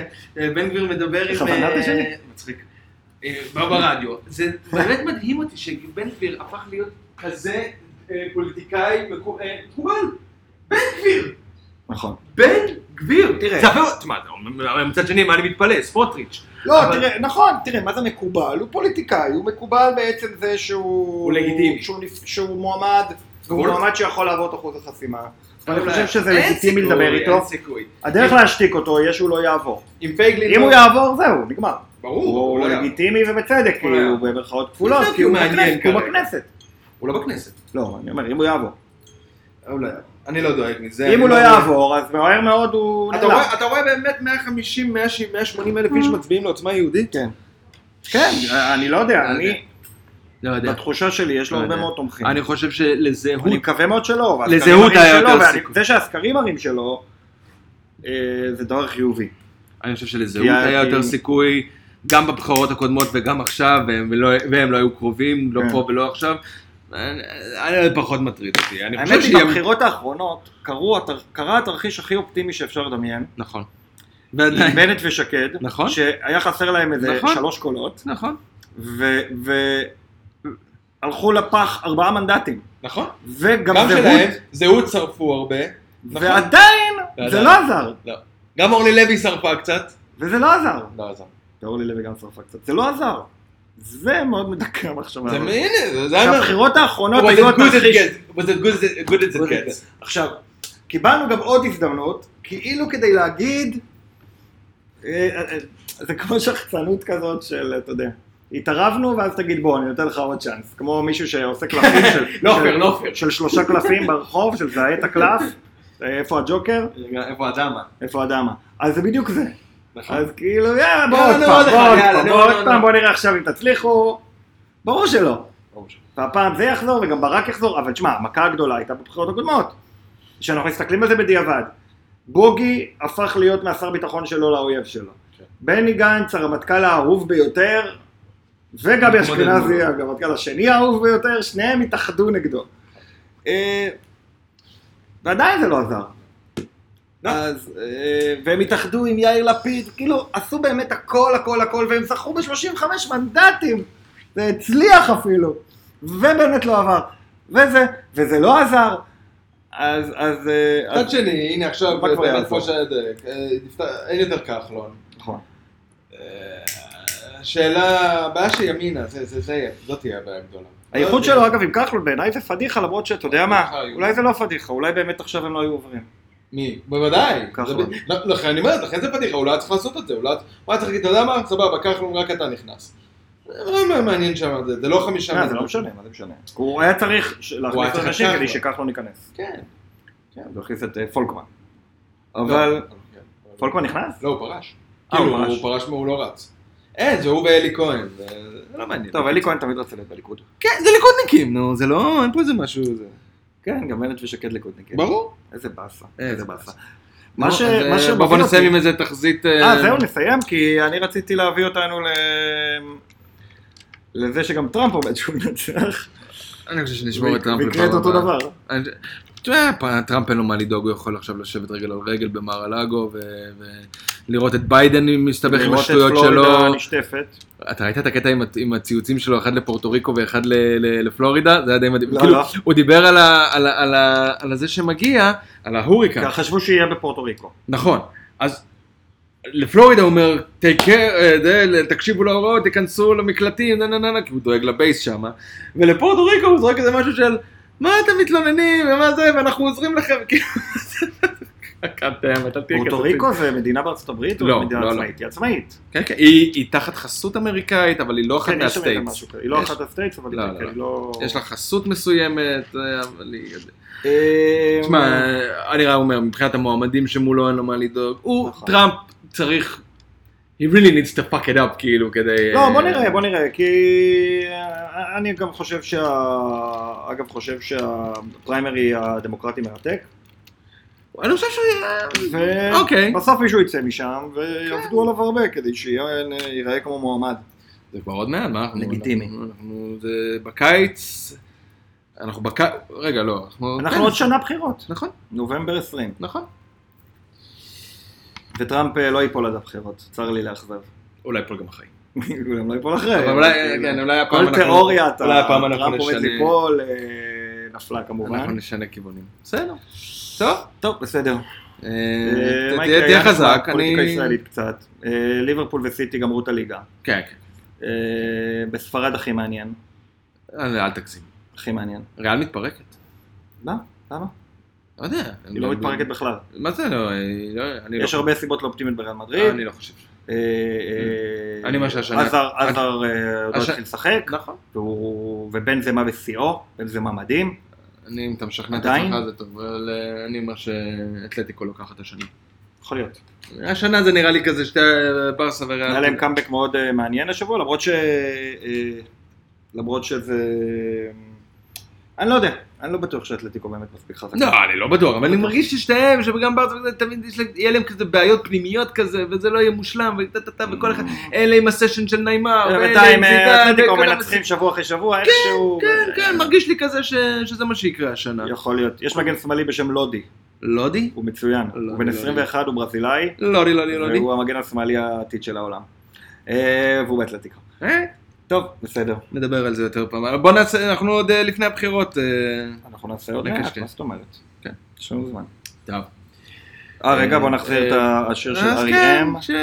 D: בן גביר מדבר עם...
A: בכוונה
D: אה,
A: תשני?
D: מצחיק. אה, בא ברדיו. זה באמת מדהים אותי שבן גביר הפך להיות כזה אה, פוליטיקאי מקו- אה, מקובל. בן גביר!
A: נכון.
D: בן גביר!
A: תראה.
D: זה אפילו... תשמע, אתה- מצד שני, מה אני מתפלא? סמוטריץ'.
A: לא,
D: אבל-
A: תראה, נכון, תראה, מה זה מקובל? הוא פוליטיקאי, הוא מקובל בעצם זה שהוא...
D: הוא לגיטימי.
A: שהוא, נפ- שהוא מועמד, הוא
D: אבל-
A: מועמד שיכול לעבור את אחוז החסימה. אני
D: אבל
A: חושב שזה
D: אין
A: לגיטימי
D: סיכוי,
A: לדבר איתו.
D: אין סיכוי.
A: הדרך להשתיק אותו יהיה שהוא לא יעבור.
C: אם פייגלין...
A: אם
C: לא-
A: הוא יעבור, זהו, נגמר.
C: ברור,
A: כן, הוא
C: הוא לא יעבור.
A: לגיטימי ובצדק,
C: הוא לא
A: כאילו, במרכאות כפולות,
C: לדעתי
A: כי הוא
C: הוא מעניין
A: בכנסת, כי הוא
C: כרגע.
A: בכנסת.
C: הוא לא בכנסת.
A: לא, אני אומר, אם הוא יעבור.
C: הוא לא יעבור. אני לא דואג מזה.
A: אם
C: אני
A: הוא לא יעבור, אז מהר מאוד הוא לא
C: אתה
A: נעלם.
C: רואה- אתה רואה באמת 150, 160, 180 אלף איש
A: אה.
C: מצביעים לעוצמה יהודית?
A: כן. כן, אני לא יודע,
B: לא
A: אני,
B: לא יודע.
A: בתחושה שלי, יש לו
B: לא
A: הרבה
B: יודע.
A: מאוד תומכים.
B: אני חושב שלזהות...
A: אני מקווה מאוד שלא. והסקרים
B: לזהות
A: מראים
B: היה
A: שלא,
B: יותר
A: ואני-
B: סיכוי.
A: זה שהסקרים מראים שלא, אה, זה דבר חיובי.
B: אני חושב שלזהות
A: כי ה-
B: היה
A: כי-
B: יותר סיכוי, גם בבחירות הקודמות וגם עכשיו, והם לא, והם לא היו קרובים, לא
A: כן.
B: פה ולא עכשיו. אני, אני פחות מטריד אותי. אני
A: האמת
B: חושב
A: היא,
B: שיהיה...
A: בבחירות האחרונות קרו התר- קרה התרחיש הכי אופטימי שאפשר
B: <laughs>
A: לדמיין.
B: נכון. ועדיין.
A: בנט ושקד,
B: נכון.
A: שהיה חסר להם איזה
B: נכון.
A: שלוש קולות,
B: נכון.
A: והלכו לפח ארבעה מנדטים.
C: נכון.
A: וגם
C: גם שלהם,
A: זהות,
C: זהות שרפו הרבה. נכון.
A: ועדיין זה
C: ועדיין.
A: לא עזר,
C: גם אורלי לוי שרפה קצת.
A: וזה לא עזר.
C: לא עזר.
A: ואורלי לוי גם שרפה קצת, זה לא עזר. זה מאוד מדכא המחשבה.
C: זה
A: הזאת.
C: הנה, זה- זה היה...
A: שהבחירות האחרונות
C: Was
A: היו
C: it good
A: התרחיש
C: as it gets? Was it good as it- good as it gets?
A: עכשיו, קיבלנו גם עוד הזדמנות, כאילו כדי להגיד, אה, אה, זה כמו שחצנות כזאת של, אתה יודע, התערבנו ואז תגיד בוא, אני נותן לך עוד צ'אנס, כמו מישהו
C: <laughs>
A: שעושה קלפים של,
C: לא
A: של-
C: פייר, לא פייר.
A: של שלושה קלפים ברחוב, של זהה את הקלף, אה, איפה הג'וקר,
D: איפה אדמה?
A: איפה הדמה, אז זה בדיוק זה,
C: נכון. לא,
A: אז כאילו יאללה בוא
D: יאללה,
A: עוד
D: נו,
A: פעם,
D: עוד
A: בוא
D: אחד,
A: עוד
D: יאללה,
A: פעם,
D: נו,
A: בוא
D: נו,
A: עוד
D: נו.
A: פעם, בוא נראה עכשיו אם תצליחו, ברור שלא.
C: ברור שלא.
A: והפעם זה יחזור וגם ברק יחזור, אבל שמע, המכה הגדולה הייתה בבחירות הקודמות. כשאנחנו מסתכלים על זה בדיעבד. בוגי הפך להיות מהשר ביטחון שלו לאויב שלו.
C: כן.
A: בני גנץ, הרמטכ"ל האהוב ביותר, וגבי
D: מתמודד
A: אשכנזי,
D: מולו.
A: הרמטכ"ל השני האהוב ביותר, שניהם התאחדו נגדו. אה, ועדיין זה לא עזר. אז, אה, והם התאחדו עם יאיר לפיד, כאילו, עשו באמת הכל, הכל, הכל, והם זכו ב-35 מנדטים. זה הצליח אפילו, ובאמת לא עבר, וזה, וזה לא עזר, אז, אז, אה,
C: מצד
A: אז,
C: שני, הנה עכשיו,
A: מה כבר
C: באמת,
A: יעזור?
C: כמו שהיה דרק, אה, נפתח- אין יותר כחלון.
A: נכון,
C: אה, השאלה, הבעיה של ימינה, זה- זה- זה- זאת תהיה הבעיה הגדולה.
A: האיחוד
C: לא יודע.
A: שלו אגב עם כחלון בעיניי זה פדיחה למרות שאתה יודע מה, אולי זה לא פדיחה, אולי באמת עכשיו הם לא היו עוברים,
C: מי? בוודאי.
A: כחלון.
C: זה ב- לא, לכן אני אומר, לכן זה פדיחה, הוא לא היה צריך לעשות את זה, הוא לא היה הוא היה צריך להגיד, אתה יודע מה? סבבה, כחלון, רק אתה נכנס. זה לא מה מעניין שם, זה- זה לא חמישה
A: אה, זה
C: מנדטים.
A: לא משנה, מה זה משנה, הוא היה צריך ש- להכניס
C: צריך
A: אנשים
C: את
A: כדי
C: כחלון.
A: שכחלון ייכנס,
C: כן.
A: כן, הוא הכניס את אה, פולקמן,
C: לא,
A: אבל,
C: כן, אבל-
A: פולקמן נכנס?
C: לא, הוא פרש.
A: אה,
C: כאילו,
A: הוא פרש.
C: הוא פרש מה הוא לא רץ. אין, זה הוא ואלי כהן, זה זה לא מעניין.
A: טוב, אלי כהן תמיד רצה להיות בליכוד,
B: כן, זה ליכודניקים, נו, זה לא, אין פה איזה משהו... זה...
A: כן, גם בנט ושקד ליכודניקים,
C: ברור.
A: איזה באסה,
B: איזה
A: איזה
B: באסה.
A: באסה, מה ש...
B: נו, אז,
A: מה
B: אה,
A: שמוביל
B: בוא נסיים
A: אותי-
B: עם איזה תחזית...
A: אה, זהו, נסיים, כי אני רציתי להביא אותנו ל... לזה שגם טראמפ עומד שהוא מנצח.
B: אני חושב שנשמור את טראמפ
A: ויקרה את אותו
B: הבאה.
A: דבר.
B: אני- תראה, פ- טראמפ אין לו מה לדאוג, הוא יכול עכשיו לשבת רגל על רגל במר הלאגו ולראות את ביידן מסתבך עם
A: לראות את
B: השטויות שלו.
A: פלורידה נשטפת.
B: אתה ראית את הקטע עם, הת- עם הציוצים שלו, אחד לפורטו ריקו ואחד ל, ל, לפלורידה? זה היה די מדהים.
A: לא,
B: כאילו,
A: לא.
B: הוא דיבר על, ה, על, ה, על, ה, על הזה שמגיע, על ההוריקה.
A: ככה כן, חשבו שיהיה בפורטו ריקו.
B: נכון. אז לפלורידה הוא אומר, "Take care, אה, זה, תקשיבו להוראות, תיכנסו למקלטים, נה נה נה נה, כי הוא דואג לבייס שם. ולפורטו ריקו <laughs> הוא זורק איזה משהו של, מה אתם מתלוננים, ומה זה, ואנחנו עוזרים לכם. כאילו, אתם, אתה תהיה
A: פורטו
B: כזה.
A: ריקו זה מדינה בארצות הברית
B: לא,
A: או מדינה
B: לא, לא.
A: עצמאית? היא עצמאית.
B: כן, כן, היא היא תחת חסות אמריקאית, אבל היא לא אחת
A: כן, יש שם איזה
B: מהסטייטס.
A: משהו כזה. היא לא
B: יש-
A: אחת הסטייטס, אבל
B: לא,
A: היא-
B: לא,
A: כן,
B: לא.
A: היא לא...
B: יש לה חסות מסוימת, אה, אבל היא...
A: אה,
B: תשמע, אני רק אומר, מבחינת המועמדים שמולו אין לו מה לדאוג. הוא,
A: נכון.
B: טראמפ צריך... He really needs to fuck it up, כאילו, כדי...
A: לא, בוא נראה, בוא נראה, כי אה, אני גם חושב שה... אגב, חושב שהפריימרי הדמוקרטי מרתק.
B: אני חושב ש...
A: אה,
B: אוקיי. כן.
A: ובסוף מישהו יצא משם, ויעבדו עליו הרבה כדי שייראה כמו מועמד.
B: זה כבר עוד מעט, מה אנחנו...
A: לגיטימי.
B: אנחנו- אנחנו... זה בקיץ... אנחנו בקיץ... רגע, לא. אנחנו... כן,
A: אנחנו עוד שנה בחירות,
B: נכון,
A: נובמבר 20,
B: נכון.
A: וטראמפ אה, לא ייפול עד הבחירות, צר לי לאכזב. <laughs>
B: אולי פה גם אחרי.
A: אולי הם לא ייפול אחרי.
B: אבל אולי, כן, אולי הפעם
A: אה, כל
B: אנחנו...
A: תיאוריה, אתה-
B: אולי הפעם אנחנו
A: טראמפ עומד
B: נשנה...
A: ליפול, אה, נפלה
B: אנחנו
A: כמובן.
B: נשנה כיוונים. בסדר. טוב.
A: טוב, בסדר.
B: אה,
A: אה, מה
B: תהיה
A: יקרה?
B: תהיה
A: היה נחמד,
B: חזק.
A: פוליטיקה
B: אני...
A: ישראלית קצת. אה, ליברפול וסיטי גמרו את הליגה.
B: כן, כן.
A: אה, בספרד הכי מעניין.
B: אה, אל אל תגזים.
A: הכי מעניין.
B: ריאל מתפרקת.
A: למה? למה?
B: לא יודע.
A: היא לא מתפרקת בכלל.
B: מה זה לא? היא לא- אני לא...
A: יש הרבה סיבות לא אופטימיות בריאל מדריד.
B: אני לא חושב. ש-
A: אה, אה,
B: אני מה שהשנה-
A: עזר
B: אני-
A: עזר, אה, עוד לא
B: הש-
A: התחיל לשחק,
B: נכון.
A: והוא- ובנזמה בשיאו, בנזמה מדהים.
B: אני, אם אתה משכנע את
A: עדיין?
B: עצמך זה טוב, אבל אה, אני אומר שאתלטיקו לוקחת השנה.
A: יכול להיות.
B: השנה זה נראה לי כזה שתי ברסה וריאל.
A: היה להם קאמבק מאוד אה, מעניין השבוע, למרות ש... אה, למרות שזה... אני לא יודע, אני לא בטוח שאתלטיקו באמת מספיק חזק.
B: לא, אני לא בטוח, אבל אני מרגיש ששתיהם, שגם ברסה וזה, תמיד יש להם- יהיה להם כזה בעיות פנימיות כזה, וזה לא יהיה מושלם, וטה טה טה, וכל אחד, אלה עם הסשן של נעימה, ואלה עם
A: בינתיים אה,
B: זידן,
A: אתלטיקו
B: אה, וכל
A: מנצחים שבוע אחרי שבוע, איכשהו...
B: כן, כן, מרגיש לי כזה ש- שזה מה שיקרה השנה.
A: יכול להיות. יש מגן שמאלי בשם לודי,
B: לודי?
A: הוא מצוין.
B: לודי,
A: הוא בן
B: לודי.
A: 21, הוא ברזילאי,
B: לודי, לודי, לודי.
A: והוא המגן השמאלי העתיד של העולם. אה, והוא באתלטיקו.
B: אה,
A: טוב, בסדר.
B: נדבר על זה יותר פעם. בוא נעשה, אנחנו עוד אה, לפני הבחירות. אה,
A: אנחנו נעשה עוד מעט,
B: נקשקש.
A: מה זאת אומרת?
B: אה, כן.
A: יש לנו זמן.
B: טוב.
A: אה, רגע, בוא
B: אה,
A: נחזיר את השיר של
B: אז
A: אריה
B: כן,
A: אם.
B: שטוב.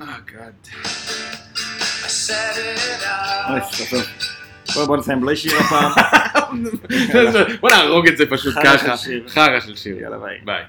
B: אה, גאד. <laughs> אה,
A: אוי, טוב. בוא- בוא נסיים בלי שיר הפעם. <laughs>
B: בוא נהרוג את זה פשוט
A: חרא של
B: ככה.
A: שיר.
B: חרא של שיר.
A: יאללה ביי.
B: ביי.